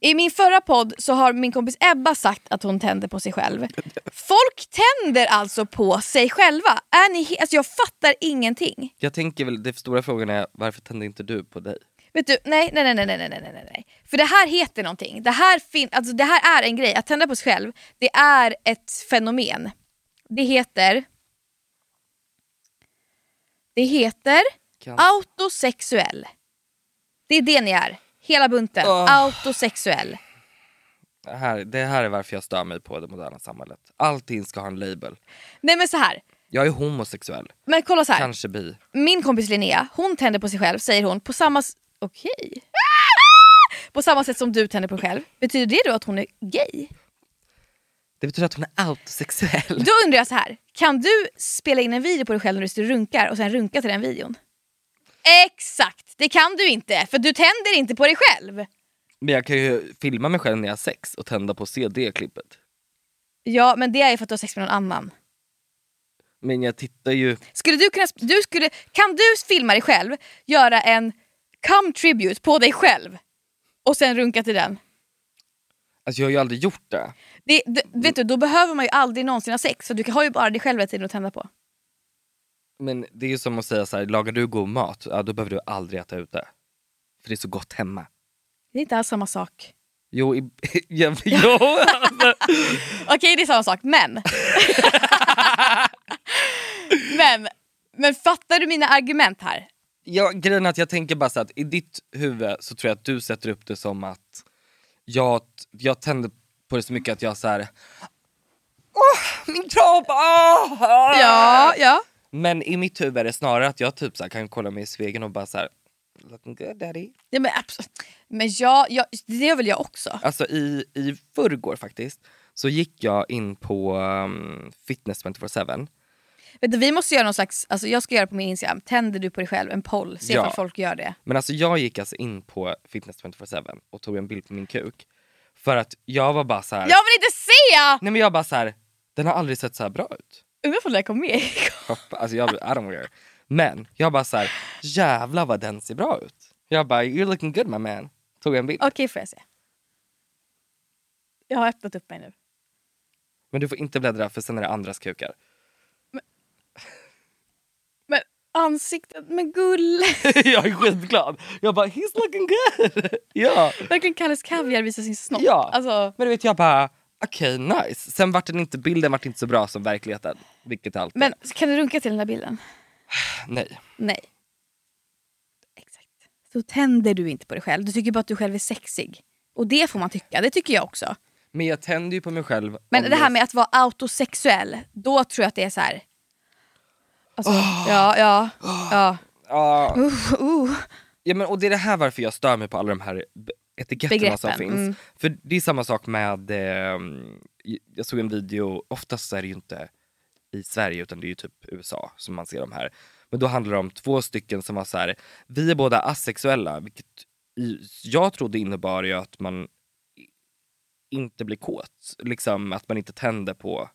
Speaker 1: I min förra podd så har min kompis Ebba sagt att hon tänder på sig själv. Folk tänder alltså på sig själva. Är ni he- alltså jag fattar ingenting.
Speaker 4: Jag tänker väl, den stora frågan är varför tände inte du på dig?
Speaker 1: Vet du, nej, nej, nej, nej, nej, nej, nej, nej, nej. För det här heter någonting. Det här, fin- alltså, det här är en grej. Att tända på sig själv, det är ett fenomen. Det heter... Det heter
Speaker 4: Kan-
Speaker 1: autosexuell Det är det ni är. Hela bunten.
Speaker 4: Åh.
Speaker 1: Autosexuell.
Speaker 4: Det här, det här är varför jag stör mig på det moderna samhället. Allting ska ha en label.
Speaker 1: Nej men så här.
Speaker 4: Jag är homosexuell.
Speaker 1: Men kolla så här.
Speaker 4: Kanske bi.
Speaker 1: Min kompis Linnea, hon tänder på sig själv säger hon på samma... s- Okej. På samma sätt som du tänder på dig själv. Betyder det då att hon är gay?
Speaker 4: Det betyder att hon är autosexuell.
Speaker 1: Då undrar jag så här. Kan du spela in en video på dig själv när du sitter och runkar och sen runka till den videon? Exakt! Det kan du inte för du tänder inte på dig själv.
Speaker 4: Men jag kan ju filma mig själv när jag har sex och tända på CD-klippet.
Speaker 1: Ja men det är ju för att du har sex med någon annan.
Speaker 4: Men jag tittar ju...
Speaker 1: Skulle du kunna, sp- du skulle, kan du filma dig själv, göra en come tribute på dig själv och sen runka till den?
Speaker 4: Alltså jag har ju aldrig gjort det.
Speaker 1: Det, det, vet du, då behöver man ju aldrig någonsin ha sex, så du kan- har ju bara dig själv hela tiden att tända på.
Speaker 4: Men det är ju som att säga så här, lagar du god mat, ja, då behöver du aldrig äta ute. För det är så gott hemma.
Speaker 1: Det är inte alls samma sak.
Speaker 4: Jo, i, <laughs> ja, jo alltså.
Speaker 1: Okej, det är samma sak, men... men, men fattar du mina argument här?
Speaker 4: Ja, grejen är att jag tänker bara så att i ditt huvud så tror jag att du sätter upp det som att jag, jag tänder på det så mycket att jag så här. Åh, min kropp! Åh!
Speaker 1: Ja, ja.
Speaker 4: Men i mitt huvud är det snarare att jag typ så här, kan kolla mig i spegeln och bara så här. Looking good daddy.
Speaker 1: ja men, abs- men jag, jag, det gör väl jag också?
Speaker 4: Alltså i, i förrgår faktiskt så gick jag in på um, fitness 24-7.
Speaker 1: Vet du, vi måste göra någon slags, alltså jag ska göra på min Instagram, tänder du på dig själv, en poll, se
Speaker 4: Ja.
Speaker 1: ifall folk gör det.
Speaker 4: Men alltså jag gick alltså in på fitness 24-7 och tog en bild på min kuk. För att jag var bara så här.
Speaker 1: Jag vill inte se!
Speaker 4: Nej men jag bara så här. den har aldrig sett så här bra ut.
Speaker 1: Undrar om det här kom med.
Speaker 4: Hoppa- Alltså jag, I don't care. Men jag bara så här. jävlar vad den ser bra ut. Jag bara, you're looking good my man. Tog en bild.
Speaker 1: Okej, får jag se. Jag har öppnat upp mig nu.
Speaker 4: Men du får inte bläddra för sen är det andras kukar. <laughs>
Speaker 1: Men ansiktet, men gull.
Speaker 4: jag är skitglad. Jag bara, he's looking good. <laughs> ja.
Speaker 1: Verkligen Kalles Kaviar visar sin snopp.
Speaker 4: Ja.
Speaker 1: Alltså,
Speaker 4: Men du vet jag bara, okej nice. Sen vart den inte, bilden vart inte så bra som verkligheten. Vilket det alltid
Speaker 1: men
Speaker 4: är.
Speaker 1: kan du runka till den där bilden?
Speaker 4: Nej.
Speaker 1: Nej. Exakt. Så tänder du inte på dig själv. Du tycker bara att du själv är sexig. Och det får man tycka, det tycker jag också.
Speaker 4: Men jag tänder ju på mig själv.
Speaker 1: Men
Speaker 4: om
Speaker 1: det här med att vara autosexuell, då tror jag att det är så här. Alltså, ja, ja, ja.
Speaker 4: Ja.
Speaker 1: Uh, uh.
Speaker 4: Ja, men, och det är det här varför jag stör mig på alla de här be- etiketterna som
Speaker 1: Begreppen,
Speaker 4: finns.
Speaker 1: mm.
Speaker 4: För det är samma sak med, ehm, jag såg en video, oftast så är det ju inte i Sverige utan det är ju typ USA som man ser de här. Men då handlar det om två stycken som var så här, vi är båda asexuella, vilket i, jag trodde innebar ju att man i- inte blir kåt, liksom att man inte tänder på,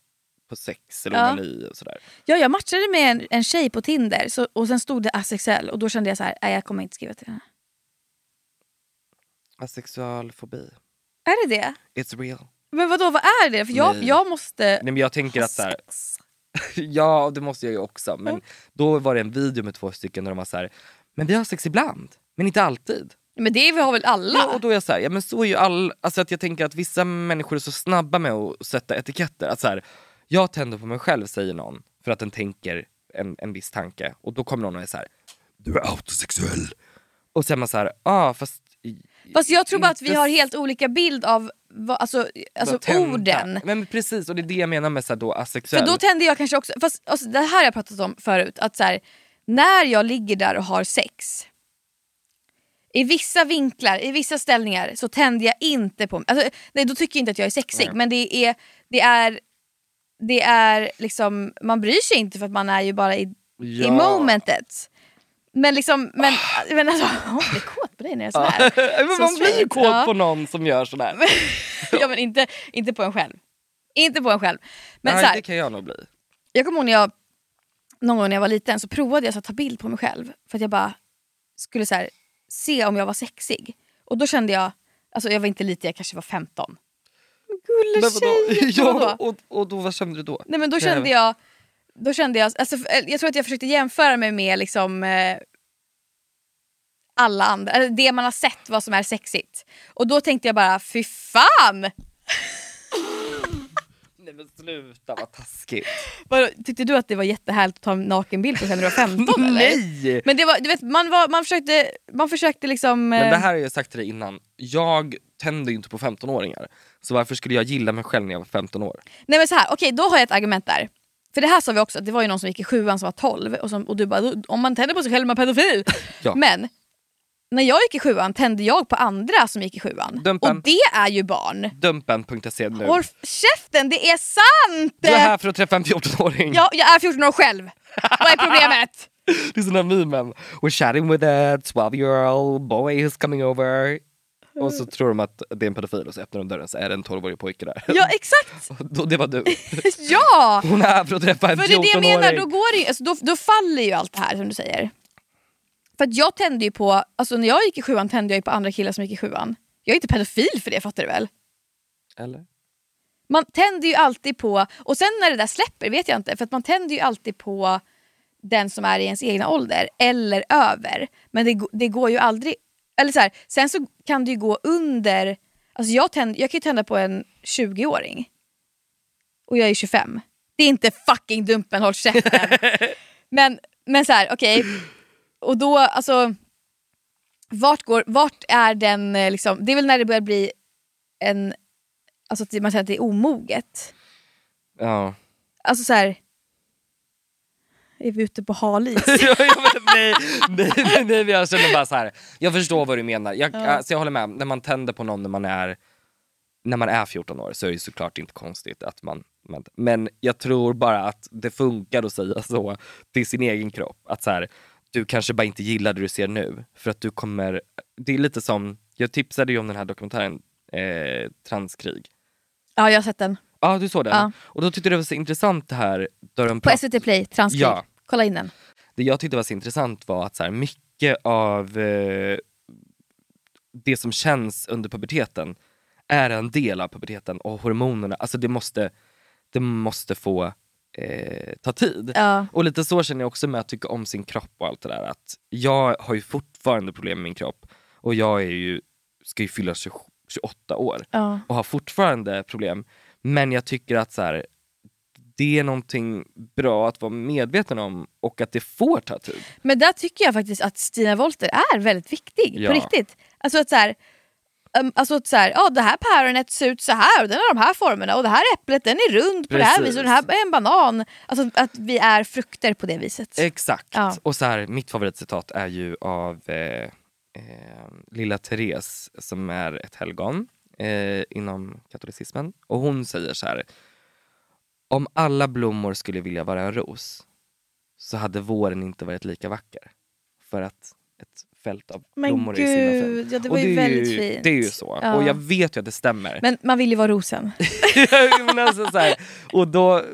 Speaker 4: på sex eller
Speaker 1: Ja.
Speaker 4: onani och sådär.
Speaker 1: Ja, jag matchade med en, en tjej på Tinder så, och sen stod det asexuell och då kände jag så här, nej jag kommer inte skriva till henne.
Speaker 4: Asexual fobi,
Speaker 1: Är det det?
Speaker 4: it's real.
Speaker 1: Men vadå, vad är det? För jag,
Speaker 4: Nej.
Speaker 1: jag måste...
Speaker 4: Nej, men jag tänker att så här, <laughs> Ja, det måste jag ju också. Men
Speaker 1: Mm.
Speaker 4: då var det en video med två stycken där de var så här, men vi har sex ibland, men inte alltid.
Speaker 1: Men det har väl alla?
Speaker 4: Ja, och då är jag så här, ja men så är ju all, alltså att jag tänker att vissa människor är så snabba med att sätta etiketter. Att så här, jag tänder på mig själv säger någon för att den tänker en, en viss tanke och då kommer någon och är så här, du är autosexuell. Och sen är man så här, ah, fast
Speaker 1: Fast jag tror bara att vi
Speaker 4: inte
Speaker 1: har helt olika bild av vad, alltså, alltså
Speaker 4: vad tända.
Speaker 1: orden.
Speaker 4: Men precis, och det är det jag menar med så här då asexuell.
Speaker 1: För då tände jag kanske också, fast alltså, det här har jag pratat om förut, att så här, när jag ligger där och har sex, i vissa vinklar, i vissa ställningar så tänder jag inte på mig. Alltså, nej, då tycker jag inte att jag är sexig
Speaker 5: Nej.
Speaker 1: men det är, det är, det är liksom, man bryr sig inte för att man är ju bara i, i
Speaker 5: Ja.
Speaker 1: momentet. Men liksom, men, men alltså, <laughs> jag blir kåt på dig när jag är
Speaker 4: Ja.
Speaker 1: sådär.
Speaker 4: Ah. <laughs> men <laughs>
Speaker 1: Så
Speaker 4: man blir ju
Speaker 1: straight,
Speaker 4: kåt
Speaker 1: ja.
Speaker 4: på någon som gör sådär.
Speaker 1: ja <laughs> men inte, inte på en själv. Inte på en själv. Men
Speaker 4: Nej,
Speaker 1: så här,
Speaker 4: det kan jag nog bli.
Speaker 1: jag kommer ihåg när jag, någon gång när jag var liten så provade jag så att ta bild på mig själv. För att jag bara skulle så här, se om jag var sexig. Och då kände jag, alltså jag var inte liten, jag kanske var 15. Gulle
Speaker 4: Men vadå?
Speaker 1: tjejer,
Speaker 4: <laughs> Ja,
Speaker 1: vadå?
Speaker 4: och, och då, vad kände du då?
Speaker 1: Nej men då kände jag, då kände jag, alltså, f- eller jag tror att jag försökte jämföra mig med liksom eh, alla andra, eller det man har sett vad som är sexigt. Och då tänkte jag bara, fy fan!
Speaker 4: Nej men sluta vad taskigt.
Speaker 1: Vadå, tyckte du att det var jättehärligt att ta en nakenbild på sen när du var
Speaker 4: <laughs>
Speaker 1: 15 eller?
Speaker 4: Nej!
Speaker 1: Men det var, du vet, man, var, man, försökte, man försökte liksom...
Speaker 4: Men det
Speaker 1: eh,
Speaker 4: här har jag sagt till dig innan, jag tänder ju inte på 15-åringar. Så varför skulle jag gilla mig själv när jag var 15 år?
Speaker 1: Nej men så här, okej då har jag ett argument där. För det här sa vi också, att det var ju någon som gick i sjuan som var 12 och, som, och du bara, om man tänder på sig själv är man pedofil.
Speaker 4: <laughs> Ja.
Speaker 1: Men när jag gick i sjuan tände jag på andra som gick i sjuan.
Speaker 4: Dumpen.
Speaker 1: Och det är ju barn.
Speaker 4: Dumpen.se nu.
Speaker 1: Håll f- käften, det är sant!
Speaker 4: Du är här för att träffa en 14-åring.
Speaker 1: Ja, jag är 14 år själv. Vad
Speaker 4: <laughs>
Speaker 1: är problemet?
Speaker 4: Det är sån där memen. We're chatting with a 12 year old boy who's coming over. Och så tror de att det är en pedofil och så öppnar de dörren så är det en 12-årig pojke där.
Speaker 1: Ja
Speaker 4: <laughs>
Speaker 1: exakt!
Speaker 4: Då- Det var du.
Speaker 1: Ja!
Speaker 4: Hon är här för att träffa en
Speaker 1: För det är det jag
Speaker 4: 14-åring.
Speaker 1: menar, då, går det ju, alltså, då, då faller ju allt det här som du säger. För att jag tände ju på, alltså när jag gick i sjuan tände jag ju på andra killar som gick i sjuan. Jag är inte pedofil för det fattar du väl?
Speaker 4: Eller?
Speaker 1: Man tänder ju alltid på, och sen när det där släpper vet jag inte, för att man tänder ju alltid på den som är i ens egna ålder eller över. Men det, go- det går ju aldrig, eller så här, sen så kan det ju gå under, alltså jag, tänd, jag kan ju tända på en 20-åring och jag är 25. Det är inte fucking dumpen, håll käften. men, men så här, okej. Och då, alltså. Vart, går, vart är den, eh, liksom, det är väl när det börjar bli en, alltså att man säger att det är omoget.
Speaker 4: Ja.
Speaker 1: Alltså så här. Är vi ute på hal is?
Speaker 4: <laughs> Ja, ja, men nej,
Speaker 1: <laughs>
Speaker 4: nej, nej, nej, men jag känner bara så här. Jag förstår vad du menar. Jag,
Speaker 1: Ja.
Speaker 4: alltså, jag håller med, när man tänder på någon när man är, när man är 14 år så är det ju såklart inte konstigt att man... Men, men jag tror bara att det funkar att säga så till sin egen kropp. Att så här, du kanske bara inte gillar det du ser nu. För att du kommer... Det är lite som, jag tipsade ju om den här dokumentären, eh, Transkrig.
Speaker 1: Ja, jag har sett den.
Speaker 4: Ja, du såg den?
Speaker 1: Ja.
Speaker 4: Och då tyckte jag det var så intressant det här. Där de
Speaker 1: På
Speaker 4: prat-
Speaker 1: SVT Play, transkrig.
Speaker 4: Ja.
Speaker 1: Kolla in den.
Speaker 4: det jag tyckte var så intressant var att så här, mycket av eh, det som känns under puberteten är en del av puberteten och hormonerna, alltså det måste, det måste få eh, ta tid.
Speaker 1: Ja.
Speaker 4: Och lite så känner jag också med att tycka om sin kropp och allt det där. Att jag har ju fortfarande problem med min kropp och jag är ju, ska ju fylla 20, 28 år
Speaker 1: Ja.
Speaker 4: och har fortfarande problem. Men jag tycker att så här, det är någonting bra att vara medveten om och att det får ta tid.
Speaker 1: Men där tycker jag faktiskt att Stina Wolter är väldigt viktig.
Speaker 4: Ja.
Speaker 1: På riktigt. Alltså att så här, um, alltså att så här, ja, det här päronet ser ut så här och den har de här formerna och det här äpplet den är rund på det här
Speaker 4: Precis.
Speaker 1: viset och den här är en banan. Alltså att vi är frukter på det viset.
Speaker 4: Exakt.
Speaker 1: Ja.
Speaker 4: Och så här, mitt favoritcitat är ju av eh, eh, lilla Therese som är ett helgon eh, inom katolicismen. Och hon säger så här. Om alla blommor skulle vilja vara en ros så hade våren inte varit lika vacker. För att ett fält av
Speaker 1: Men
Speaker 4: blommor är så himla
Speaker 1: gud,
Speaker 4: fint.
Speaker 1: ja, det
Speaker 4: Och
Speaker 1: var ju
Speaker 4: ju,
Speaker 1: väldigt fint.
Speaker 4: Det är ju så.
Speaker 1: Ja.
Speaker 4: Och jag vet ju att det stämmer.
Speaker 1: Men man vill ju vara rosen.
Speaker 4: <laughs> Men alltså, så här, och då,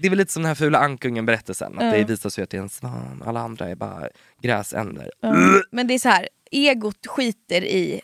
Speaker 4: det är väl lite som den här fula ankungen berättelsen. Att
Speaker 1: Ja.
Speaker 4: det visar sig att det är en svan. Alla andra är bara gräsänder.
Speaker 1: Ja. Men det är så här, egot skiter i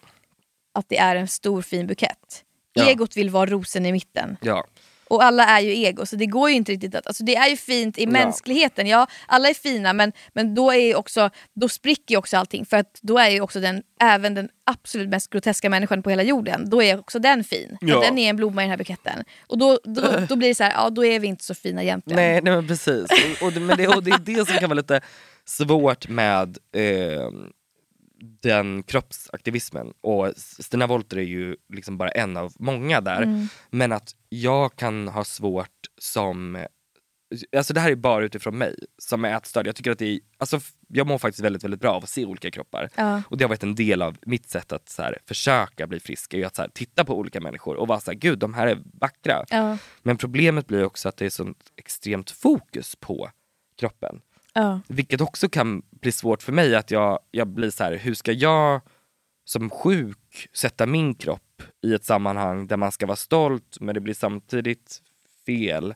Speaker 1: att det är en stor fin bukett.
Speaker 4: Ja.
Speaker 1: Egot vill vara rosen i mitten.
Speaker 4: Ja.
Speaker 1: Och alla är ju ego, så det går ju inte riktigt att... Alltså det är ju fint i
Speaker 4: Ja.
Speaker 1: mänskligheten, ja alla är fina men, men då, är ju också, då spricker ju också allting. För att då är ju också den, även den absolut mest groteska människan på hela jorden, då är också den fin. För
Speaker 4: Ja.
Speaker 1: Den är en blomma i den här buketten. Och då, då, då blir det så här, ja då är vi inte så fina egentligen.
Speaker 4: Nej, nej men precis. Och, och, det- men det, och det är det som kan vara lite svårt med eh, den kroppsaktivismen. Och Stina Wollter är ju liksom bara en av många där.
Speaker 13: Mm.
Speaker 4: Men att jag kan ha svårt som Alltså det här är bara utifrån mig som är ätstörd. Jag tycker att det är, alltså, f- jag mår faktiskt väldigt, väldigt bra av att se olika kroppar.
Speaker 13: Ja.
Speaker 4: Och det har varit en del av mitt sätt att så här, försöka bli frisk, är ju att så här, titta på olika människor och vara så här, gud de här är vackra.
Speaker 1: Ja.
Speaker 4: Men problemet blir också att det är sånt extremt fokus på kroppen.
Speaker 1: Ja.
Speaker 4: Vilket också kan bli svårt för mig att jag, jag blir så här, hur ska jag som sjuk sätta min kropp i ett sammanhang där man ska vara stolt men det blir samtidigt fel.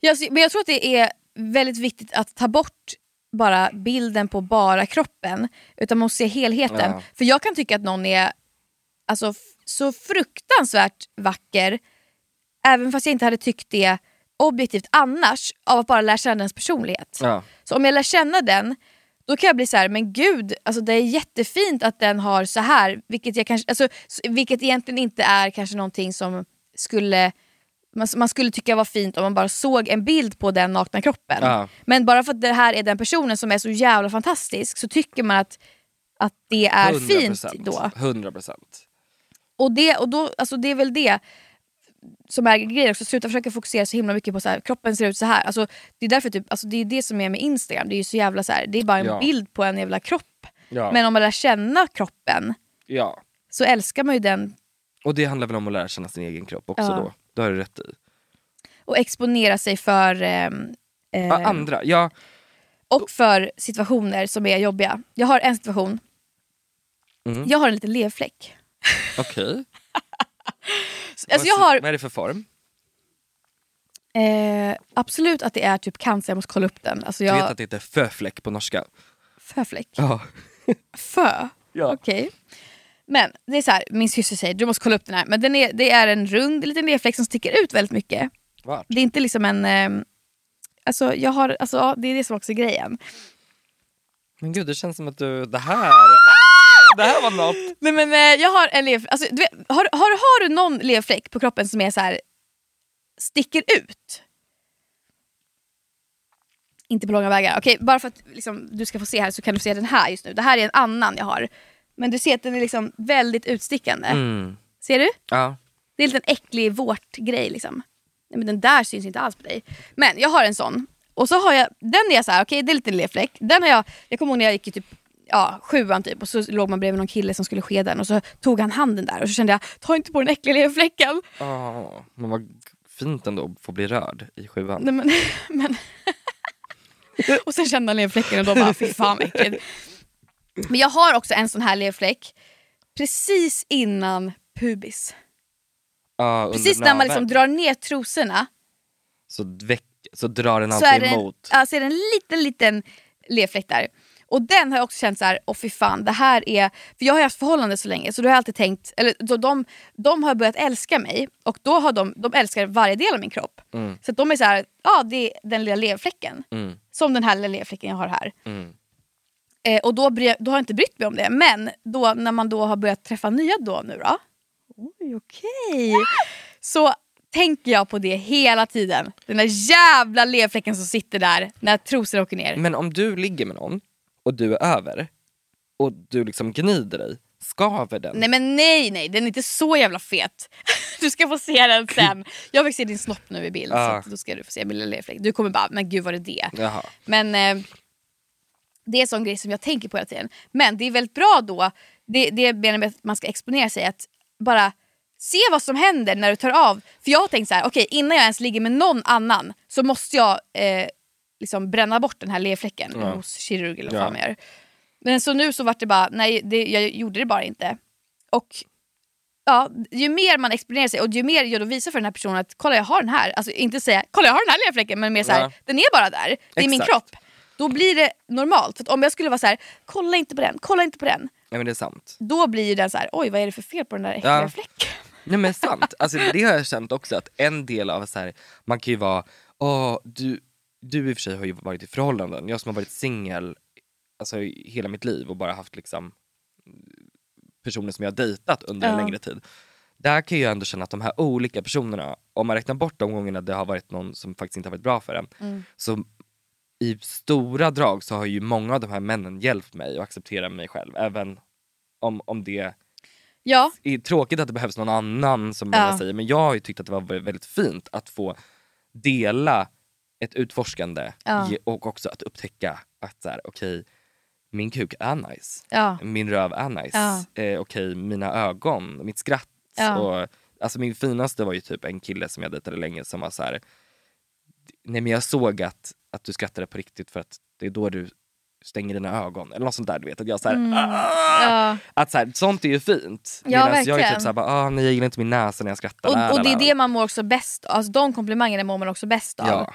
Speaker 1: Ja, så- men jag tror att det är väldigt viktigt att ta bort bara bilden på bara kroppen. Utan man måste se helheten.
Speaker 4: Ja.
Speaker 1: För jag kan tycka att någon är alltså, f- så fruktansvärt vacker, även fast jag inte hade tyckt det objektivt annars, av att bara lära känna ens personlighet.
Speaker 4: Ja.
Speaker 1: Så om jag lär känna den, då kan jag bli så här, men gud, alltså det är jättefint att den har så här. Vilket, jag kanske, alltså, s- vilket egentligen inte är kanske någonting som skulle man, man skulle tycka var fint om man bara såg en bild på den nakna kroppen.
Speaker 4: Ja.
Speaker 1: Men bara för att det här är den personen som är så jävla fantastisk så tycker man att, att det är fint då.
Speaker 4: 100 procent.
Speaker 1: Och, det, och då, alltså det är väl det som är grejen också, sluta försöka fokusera så himla mycket på så här, kroppen ser ut så här. Alltså, det är därför typ, alltså, det är det som är med Instagram, det är ju så jävla så här, det är bara en
Speaker 4: Ja.
Speaker 1: bild på en jävla kropp.
Speaker 4: Ja.
Speaker 1: Men om man lär känna kroppen
Speaker 4: ja.
Speaker 1: så älskar man ju den
Speaker 4: Och det handlar väl om att lära känna sin egen kropp också
Speaker 1: Ja.
Speaker 4: då. Det har du rätt i.
Speaker 1: och exponera sig för ehm,
Speaker 4: Ja,
Speaker 1: ehm,
Speaker 4: andra, ja.
Speaker 1: och för situationer som är jobbiga. Jag har en situation,
Speaker 4: Mm.
Speaker 1: jag har en liten leverfläck.
Speaker 4: Okej.
Speaker 1: <laughs> Alltså, jag
Speaker 4: Vad-
Speaker 1: har-
Speaker 4: Vad är det för form?
Speaker 1: Eh, absolut att det är typ cancer, jag måste kolla upp den. Alltså
Speaker 4: Du vet
Speaker 1: jag,
Speaker 4: att det heter föfläck på norska?
Speaker 1: Föfläck?
Speaker 4: Ja.
Speaker 1: Fö?
Speaker 4: Ja.
Speaker 1: Okej. Men det är så här, min syster säger du måste kolla upp den här. Men den är, det är en rund liten lerfläck som sticker ut väldigt mycket.
Speaker 4: Vart?
Speaker 1: Det är inte liksom en... ehm, alltså, jag har, alltså, ja, det är det som också är grejen.
Speaker 4: Men gud det känns som att du, det här,
Speaker 1: Ah!
Speaker 4: det här var något.
Speaker 1: Nej, men, eh, jag har en lerfläck. Alltså, du vet, har, har, har du någon lerfläck på kroppen som är så här sticker ut? Inte på långa vägar. Okej, bara för att liksom, du ska få se här så kan du se den här just nu. Det här är en annan jag har. Men du ser att den är liksom väldigt utstickande.
Speaker 4: Mm.
Speaker 1: Ser du?
Speaker 4: Ja.
Speaker 1: Det är en liten äcklig vårtgrej liksom. Nej, men den där syns inte alls på dig. Men jag har en sån. Och så har jag, den är jag så här, okej det är lite lerfläck. Den har jag, jag kommer ihåg när jag gick i typ ja, sjuan typ och så låg man bredvid någon kille som skulle skeda den och så tog han handen där och så kände jag, ta inte på den äckliga lerfläcken.
Speaker 4: Oh, men vad fint ändå att få bli rörd i sjuan.
Speaker 1: Nej, men, <laughs> men. och sen kände han lerfläcken och då bara, fy fan vad äckligt. Men jag har också en sån här lerfläck precis innan pubis.
Speaker 4: Ja, Ah, under
Speaker 1: Precis när man liksom
Speaker 4: naveln.
Speaker 1: drar ner trosorna
Speaker 4: så, väck, så drar den
Speaker 1: så är
Speaker 4: alltid
Speaker 1: det, en,
Speaker 4: emot.
Speaker 1: ja, så är det en liten, liten lerfläck där. Och den har jag också känt så här, åh fy fan, det här är... För jag har ju haft förhållande så länge, så då har jag alltid tänkt... Eller, då, de, de har börjat älska mig och då har de, de älskar varje del av min kropp.
Speaker 4: Mm.
Speaker 1: Så att de är så här, ja det är den lilla lerfläcken.
Speaker 4: Mm.
Speaker 1: Som den här lilla lerfläcken jag har här.
Speaker 4: Mm.
Speaker 1: Eh, och då, bry, då har jag inte brytt mig om det. Men då, när man då har börjat träffa nya då nu då. Oj, okej. Så tänker jag på det hela tiden. Den där jävla lerfläcken som sitter där när trosor åker ner.
Speaker 4: Men om du ligger med någon och du är över och du liksom gnider dig, skaver den?
Speaker 1: Nej men nej nej, den är inte så jävla fet. <laughs> Du ska få se den sen. Jag fick se din snopp nu i bild så
Speaker 4: Ah.
Speaker 1: att då ska du få se min lilla lerfläck. Du kommer bara, men gud var det det?
Speaker 4: Jaha.
Speaker 1: Men eh, det är en sån grej som jag tänker på hela tiden. Men det är väldigt bra då, det, det menar jag med att man ska exponera sig, att bara se vad som händer när du tar av. För jag har tänkt så här, okej innan jag ens ligger med någon annan så måste jag eh, liksom bränna bort den här lerfläcken
Speaker 4: Ja.
Speaker 1: hos kirurg eller vad
Speaker 4: Ja.
Speaker 1: fan man gör. Men så nu så vart det bara, nej det, jag gjorde det bara inte. Och ja, ju mer man exponerar sig och ju mer jag då visar för den här personen att kolla jag har den här, alltså inte säga kolla jag har den här lilla fläcken men mer såhär,
Speaker 4: Ja.
Speaker 1: den är bara där, det är min
Speaker 4: Exakt.
Speaker 1: kropp. Då blir det normalt, för att om jag skulle vara så här: kolla inte på den, kolla inte på den.
Speaker 4: Nej men det är sant.
Speaker 1: Då blir ju den så här: oj vad är det för fel på den där äckliga
Speaker 4: Ja.
Speaker 1: fläcken? <laughs>
Speaker 4: Nej men sant, alltså, det har jag känt också att en del av så här, man kan ju vara, åh, du, du i och för sig har ju varit i förhållanden, jag som har varit singel alltså, i hela mitt liv och bara haft liksom personer som jag har dejtat under en
Speaker 13: Ja.
Speaker 4: längre tid. Där kan jag ändå känna att de här olika personerna, om man räknar bort de gångerna det har varit någon som faktiskt inte har varit bra för en,
Speaker 13: Mm.
Speaker 4: så i stora drag så har ju många av de här männen hjälpt mig att acceptera mig själv, även om, om det
Speaker 1: Ja.
Speaker 4: är tråkigt att det behövs någon annan som
Speaker 1: Ja.
Speaker 4: många säger men jag har ju tyckt att det var vä- väldigt fint att få dela ett utforskande
Speaker 1: Ja.
Speaker 4: ge- och också att upptäcka att så här, okej, min kuk är nice,
Speaker 1: Ja.
Speaker 4: min röv är nice,
Speaker 1: Ja.
Speaker 4: eh, okej mina ögon, mitt skratt.
Speaker 1: Ja.
Speaker 4: Och, alltså min finaste var ju typ en kille som jag dejtade länge som var så här, nej men jag såg att, att du skrattade på riktigt för att det är då du stänger dina ögon eller något sånt där du vet att jag så här,
Speaker 1: Mm.
Speaker 4: "Ah!"
Speaker 1: Ja.
Speaker 4: att så här, sånt är ju fint.
Speaker 1: Ja,
Speaker 4: Medans jag är
Speaker 1: verkligen.
Speaker 4: typ såhär, bara, ah, nej jag gillar inte min näsa när jag skrattar. la,
Speaker 1: Och, och
Speaker 4: la,
Speaker 1: det
Speaker 4: la.
Speaker 1: är det man mår också bäst av, alltså, de komplimangerna mår man också bäst av.
Speaker 4: Ja.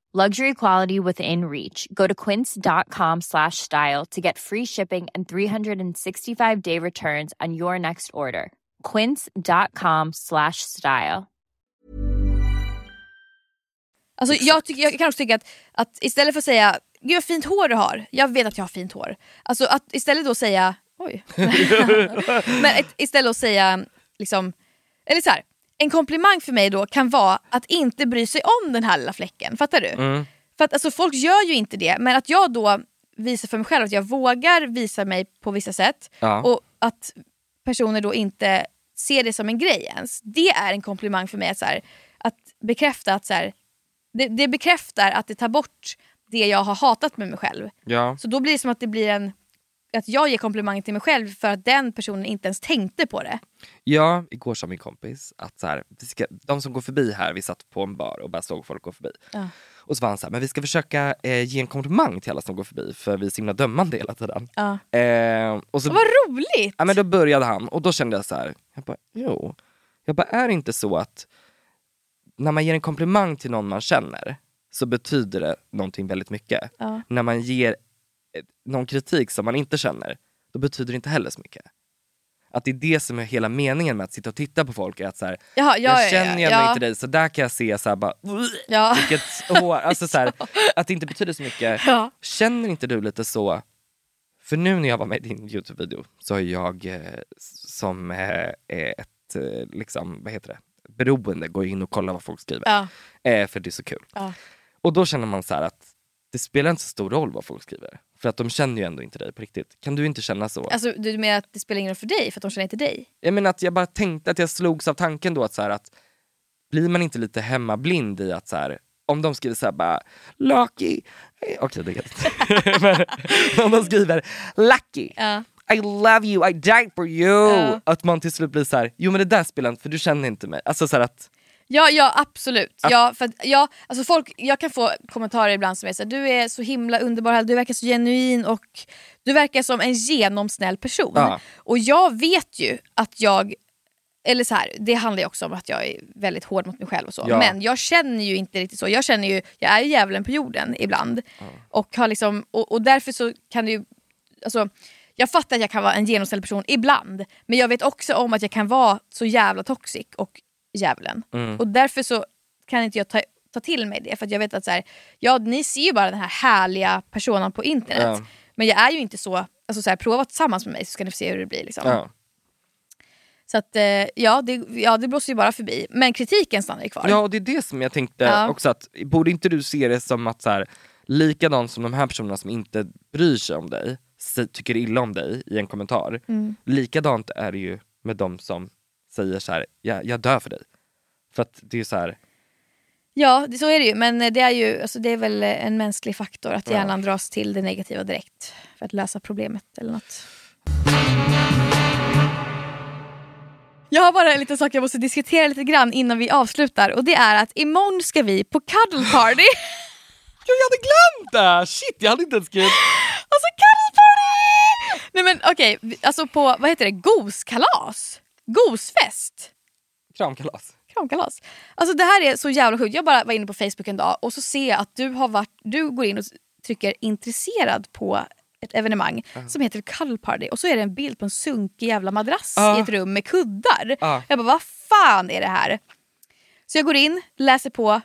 Speaker 14: Luxury quality within reach. Go to quince.com slash style to get free shipping and 365 day returns on your next order. Quince.com slash style.
Speaker 1: Alltså, jag, tycker, jag kan också tycka att, att istället för att säga “Gud vad fint hår du har, jag vet att jag har fint hår”. Alltså att istället då säga “Oj”. Men ett- istället att säga liksom, eller så här, en komplimang för mig då kan vara att inte bry sig om den här lilla fläcken. Fattar du?
Speaker 4: Mm.
Speaker 1: För att alltså, folk gör ju inte det, men att jag då visar för mig själv att jag vågar visa mig på vissa sätt
Speaker 4: Ja.
Speaker 1: och att personer då inte ser det som en grej ens. Det är en komplimang för mig att, så här, att bekräfta att så här, det, det bekräftar att det tar bort det jag har hatat med mig själv.
Speaker 4: Ja.
Speaker 1: Så då blir det som att det blir en att jag ger komplimangen till mig själv för att den personen inte ens tänkte på det.
Speaker 4: Ja, igår sa min kompis att så här, vi ska, de som går förbi här, vi satt på en bar och bara såg folk gå förbi.
Speaker 1: Ja.
Speaker 4: Och så var han så här, men vi ska försöka eh, ge en komplimang till alla som går förbi för vi är så himla dömande hela tiden.
Speaker 1: Ja.
Speaker 4: Eh, och så,
Speaker 1: Vad roligt!
Speaker 4: ja, men då började han och då kände jag så här, jag bara, jo. Jag bara, är det inte så att när man ger en komplimang till någon man känner så betyder det någonting väldigt mycket.
Speaker 1: Ja.
Speaker 4: När man ger eh, någon kritik som man inte känner, då betyder det inte heller så mycket. Att det är det som är hela meningen med att sitta och titta på folk. Är att så här,
Speaker 1: Jaha, ja, ja,
Speaker 4: jag känner
Speaker 1: ja,
Speaker 4: igen
Speaker 1: ja.
Speaker 4: mig inte dig så där kan jag se så här, bara,
Speaker 1: Ja.
Speaker 4: vilket hår. Alltså, så
Speaker 1: <laughs>
Speaker 4: här, att det inte betyder så mycket.
Speaker 1: Ja.
Speaker 4: Känner inte du lite så, för nu när jag var med i din Youtube-video så har jag eh, s- som eh, är ett, eh, liksom, vad heter det, beroende går in och kollar vad folk skriver.
Speaker 1: Ja.
Speaker 4: Eh, för det är så kul.
Speaker 1: Ja.
Speaker 4: Och då känner man så här att det spelar inte så stor roll vad folk skriver. För att de känner ju ändå inte dig på riktigt. Kan du inte känna så?
Speaker 1: Alltså, du menar att det spelar ingen roll för dig för att de känner inte dig?
Speaker 4: Jag menar att jag bara tänkte att jag slogs av tanken då att så här att blir man inte lite hemmablind i att så här om de skriver så här bara Lucky, eh, okej det är helt Men om de skriver Lucky, I love you, I died for you.
Speaker 1: Ja.
Speaker 4: Att man till slut blir så här, jo men det där spelar inte för du känner inte mig. Alltså så här att,
Speaker 1: Ja, ja absolut.
Speaker 4: Att-
Speaker 1: Ja, för att, ja, alltså folk, jag kan få kommentarer ibland som är så här, du är så himla underbar, du verkar så genuin och du verkar som en genomsnäll person.
Speaker 4: Ja.
Speaker 1: Och jag vet ju att jag, eller så här, det handlar ju också om att jag är väldigt hård mot mig själv och så.
Speaker 4: Ja.
Speaker 1: Men jag känner ju inte riktigt så. Jag känner ju, jag är ju djävulen på jorden ibland. Och, har liksom, och, och därför så kan det ju, alltså, jag fattar att jag kan vara en genomsnäll person ibland. Men jag vet också om att jag kan vara så jävla toxic och djävulen.
Speaker 4: Mm.
Speaker 1: Och därför så kan inte jag ta, ta till mig det. För att jag vet att så här, ja, ni ser ju bara den här härliga personen på internet.
Speaker 4: Ja.
Speaker 1: Men jag är ju inte så, alltså så här, prova tillsammans med mig så ska ni få se hur det blir. Liksom.
Speaker 4: ja.
Speaker 1: Så att, eh, ja, det, ja, det blåser ju bara förbi. Men kritiken stannar ju kvar.
Speaker 4: Ja, och det är det som jag tänkte
Speaker 1: Ja.
Speaker 4: också. att Borde inte du se det som att så här, likadant som de här personerna som inte bryr sig om dig, se- tycker illa om dig i en kommentar.
Speaker 15: Mm.
Speaker 4: Likadant är det ju med de som säger så här, jag, jag dör för dig. För att det är så här,
Speaker 1: Ja, det, så är det ju. Men eh, det är ju alltså, det är väl eh, en mänsklig faktor att
Speaker 4: Ja.
Speaker 1: hjärnan dras till det negativa direkt för att lösa problemet eller något. Jag har bara en liten sak jag måste diskutera lite grann innan vi avslutar och det är att imorgon ska vi på cuddle party. <laughs>
Speaker 4: jag hade glömt det! Shit, jag hade inte ens skrivit.
Speaker 1: Alltså cuddle party! men okej, vi- alltså på vad heter det? Goskalas? Gosfest?
Speaker 4: Kramkalas.
Speaker 1: Kramkalas. Alltså det här är så jävla sjukt. Jag bara var inne på Facebook en dag och så ser jag att du har varit, du går in och trycker intresserad på ett evenemang
Speaker 4: Ja.
Speaker 1: som heter Cuddle Party och så är det en bild på en sunkig jävla madrass
Speaker 4: Ja.
Speaker 1: i ett rum med kuddar.
Speaker 4: Ja.
Speaker 1: Jag bara vad fan är det här? Så jag går in, läser på.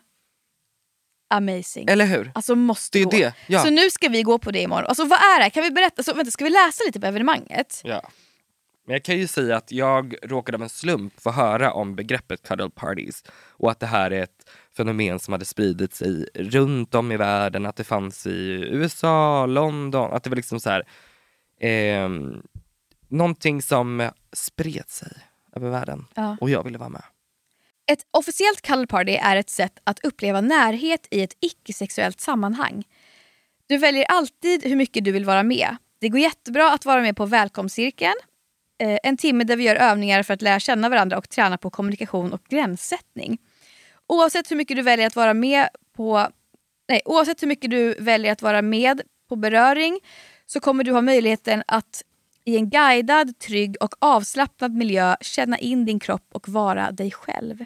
Speaker 1: Amazing.
Speaker 4: Eller hur?
Speaker 1: Alltså måste
Speaker 4: Det är
Speaker 1: gå.
Speaker 4: det, ja.
Speaker 1: Så nu ska vi gå på det imorgon. Alltså vad är det här? Kan vi berätta? Så, vänta, ska vi läsa lite på evenemanget?
Speaker 4: Ja. Men jag kan ju säga att jag råkade av en slump få höra om begreppet cuddle parties och att det här är ett fenomen som hade spridit sig runt om i världen, att det fanns i USA, London, att det var liksom så här ehm, någonting som spred sig över världen
Speaker 1: Ja.
Speaker 4: och jag ville vara med.
Speaker 1: Ett officiellt cuddle party är ett sätt att uppleva närhet i ett icke-sexuellt sammanhang. Du väljer alltid hur mycket du vill vara med. Det går jättebra att vara med på välkomstcirkeln, eh, en timme där vi gör övningar för att lära känna varandra och träna på kommunikation och gränssättning. Oavsett hur mycket du väljer att vara med på nej, oavsett hur mycket du väljer att vara med på beröring så kommer du ha möjligheten att i en guidad, trygg och avslappnad miljö känna in din kropp och vara dig själv.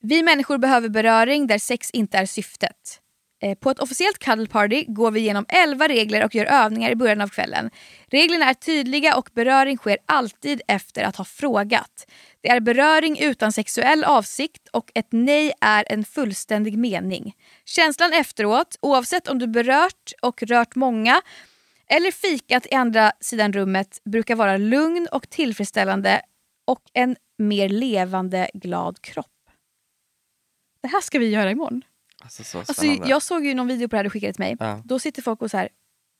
Speaker 1: Vi människor behöver beröring där sex inte är syftet. Eh, På ett officiellt cuddle party går vi igenom 11 regler och gör övningar i början av kvällen. Reglerna är tydliga och beröring sker alltid efter att ha frågat. Det är beröring utan sexuell avsikt och ett nej är en fullständig mening. Känslan efteråt, oavsett om du berört och rört många eller fikat i andra sidan rummet, brukar vara lugn och tillfredsställande och en mer levande, glad kropp. Det här ska vi göra imorgon.
Speaker 4: Alltså så
Speaker 1: Alltså,
Speaker 4: spännande.
Speaker 1: jag såg ju någon video på det här du skickade till mig.
Speaker 4: Ja.
Speaker 1: Då sitter folk och så här,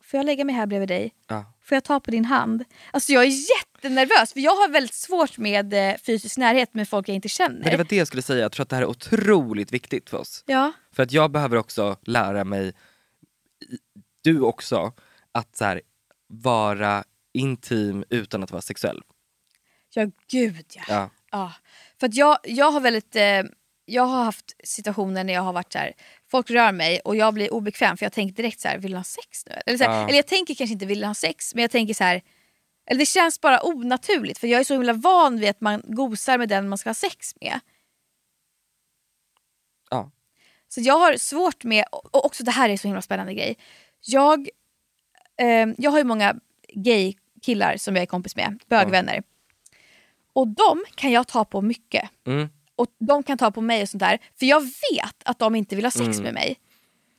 Speaker 1: får jag lägga mig här bredvid dig?
Speaker 4: Ja.
Speaker 1: Får jag ta på din hand? Alltså jag är jättenervös för jag har väldigt svårt med eh, fysisk närhet med folk jag inte känner.
Speaker 4: Men det var det jag skulle säga, jag tror att det här är otroligt viktigt för oss.
Speaker 1: Ja.
Speaker 4: För att jag behöver också lära mig, i- du också, att så här, vara intim utan att vara sexuell.
Speaker 1: ja, gud ja.
Speaker 4: Ja.
Speaker 1: Ja. För att jag, jag har väldigt... Eh, jag har haft situationer när jag har varit så här, folk rör mig och jag blir obekväm för jag tänker direkt så här, vill du ha sex nu? Eller, så här,
Speaker 4: Ja.
Speaker 1: eller jag tänker kanske inte vill du ha sex men jag tänker så här, eller det känns bara onaturligt för jag är så himla van vid att man gosar med den man ska ha sex med.
Speaker 4: Ja.
Speaker 1: Så jag har svårt med, och också det här är en så himla spännande grej. Jag, ehm, jag har ju många gay killar som jag är kompis med, bögvänner. Och de kan jag ta på mycket.
Speaker 4: Mm.
Speaker 1: Och de kan ta på mig och sånt där. För jag vet att de inte vill ha sex
Speaker 4: Mm.
Speaker 1: med mig.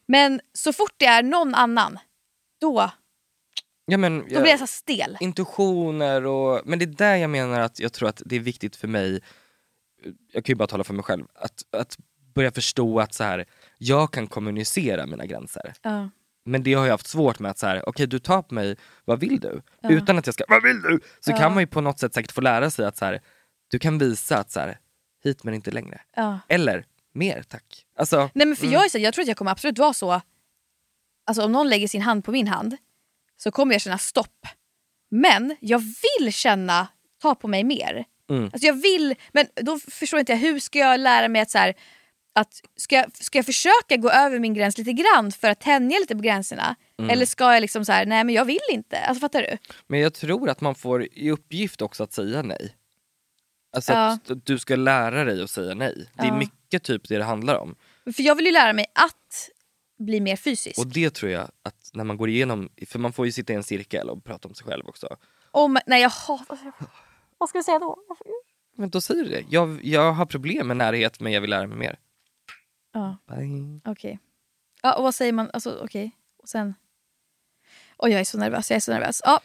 Speaker 1: Men så fort det är någon annan, då,
Speaker 4: Ja, men,
Speaker 1: då blir jag så här stel.
Speaker 4: Intuitioner och... Men det är där jag menar att jag tror att det är viktigt för mig, jag kan ju bara tala för mig själv, att, att börja förstå att så här, jag kan kommunicera mina gränser.
Speaker 1: Ja.
Speaker 4: Men det har jag haft svårt med att så här, okej du tar på mig, vad vill du?
Speaker 1: Ja.
Speaker 4: Utan att jag ska, vad vill du? Så
Speaker 1: Ja.
Speaker 4: kan man ju på något sätt säkert få lära sig att så här, du kan visa att så här, hit men inte längre.
Speaker 1: Ja.
Speaker 4: Eller, mer tack. Alltså,
Speaker 1: Nej, men för
Speaker 4: mm.
Speaker 1: jag, är så, jag tror att jag kommer absolut vara så... Alltså om någon lägger sin hand på min hand så kommer jag känna stopp. Men jag vill känna ta på mig mer.
Speaker 4: Mm.
Speaker 1: Alltså jag vill, men då förstår inte jag hur ska jag lära mig att så här, att ska, jag- ska jag försöka gå över min gräns lite grann för att tänja lite på gränserna?
Speaker 4: Mm.
Speaker 1: Eller ska jag liksom så här, nej men jag vill inte. Alltså fattar du?
Speaker 4: Men jag tror att man får i uppgift också att säga nej. Alltså
Speaker 1: Ja.
Speaker 4: att du ska lära dig att säga nej. Det är
Speaker 1: Ja.
Speaker 4: mycket typ det det handlar om.
Speaker 1: För jag vill ju lära mig att bli mer fysisk.
Speaker 4: Och det tror jag att när man går igenom, för man får ju sitta i en cirkel och prata om sig själv också.
Speaker 1: Om, nej jag hatar... Vad ska jag säga då?
Speaker 4: Men då säger du det. Jag, jag har problem med närhet men jag vill lära mig mer.
Speaker 1: Ja.
Speaker 4: Bye.
Speaker 1: Okej. Ja, och vad säger man? Alltså, okej. Och sen... Oj, jag är så nervös. Jag är så nervös. Ja.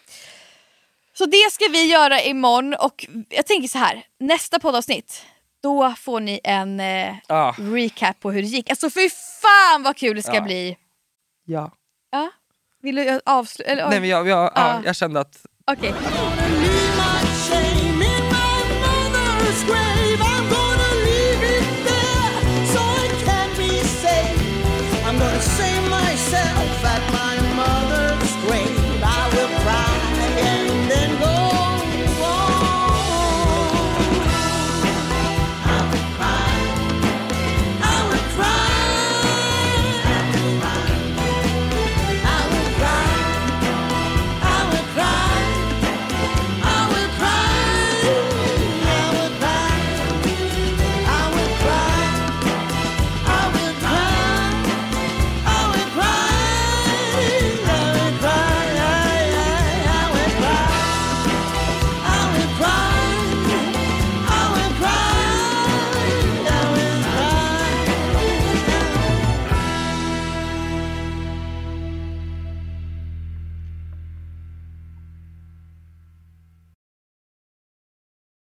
Speaker 1: Så det ska vi göra imorgon och jag tänker så här. Nästa poddavsnitt, då får ni en eh,
Speaker 4: Ah.
Speaker 1: recap på hur det gick. Alltså fy fan vad kul det ska
Speaker 4: Ja.
Speaker 1: bli!
Speaker 4: Ja.
Speaker 1: Ja. Vill du avsluta?
Speaker 4: Nej men jag, jag, ja, jag kände att
Speaker 1: Okej.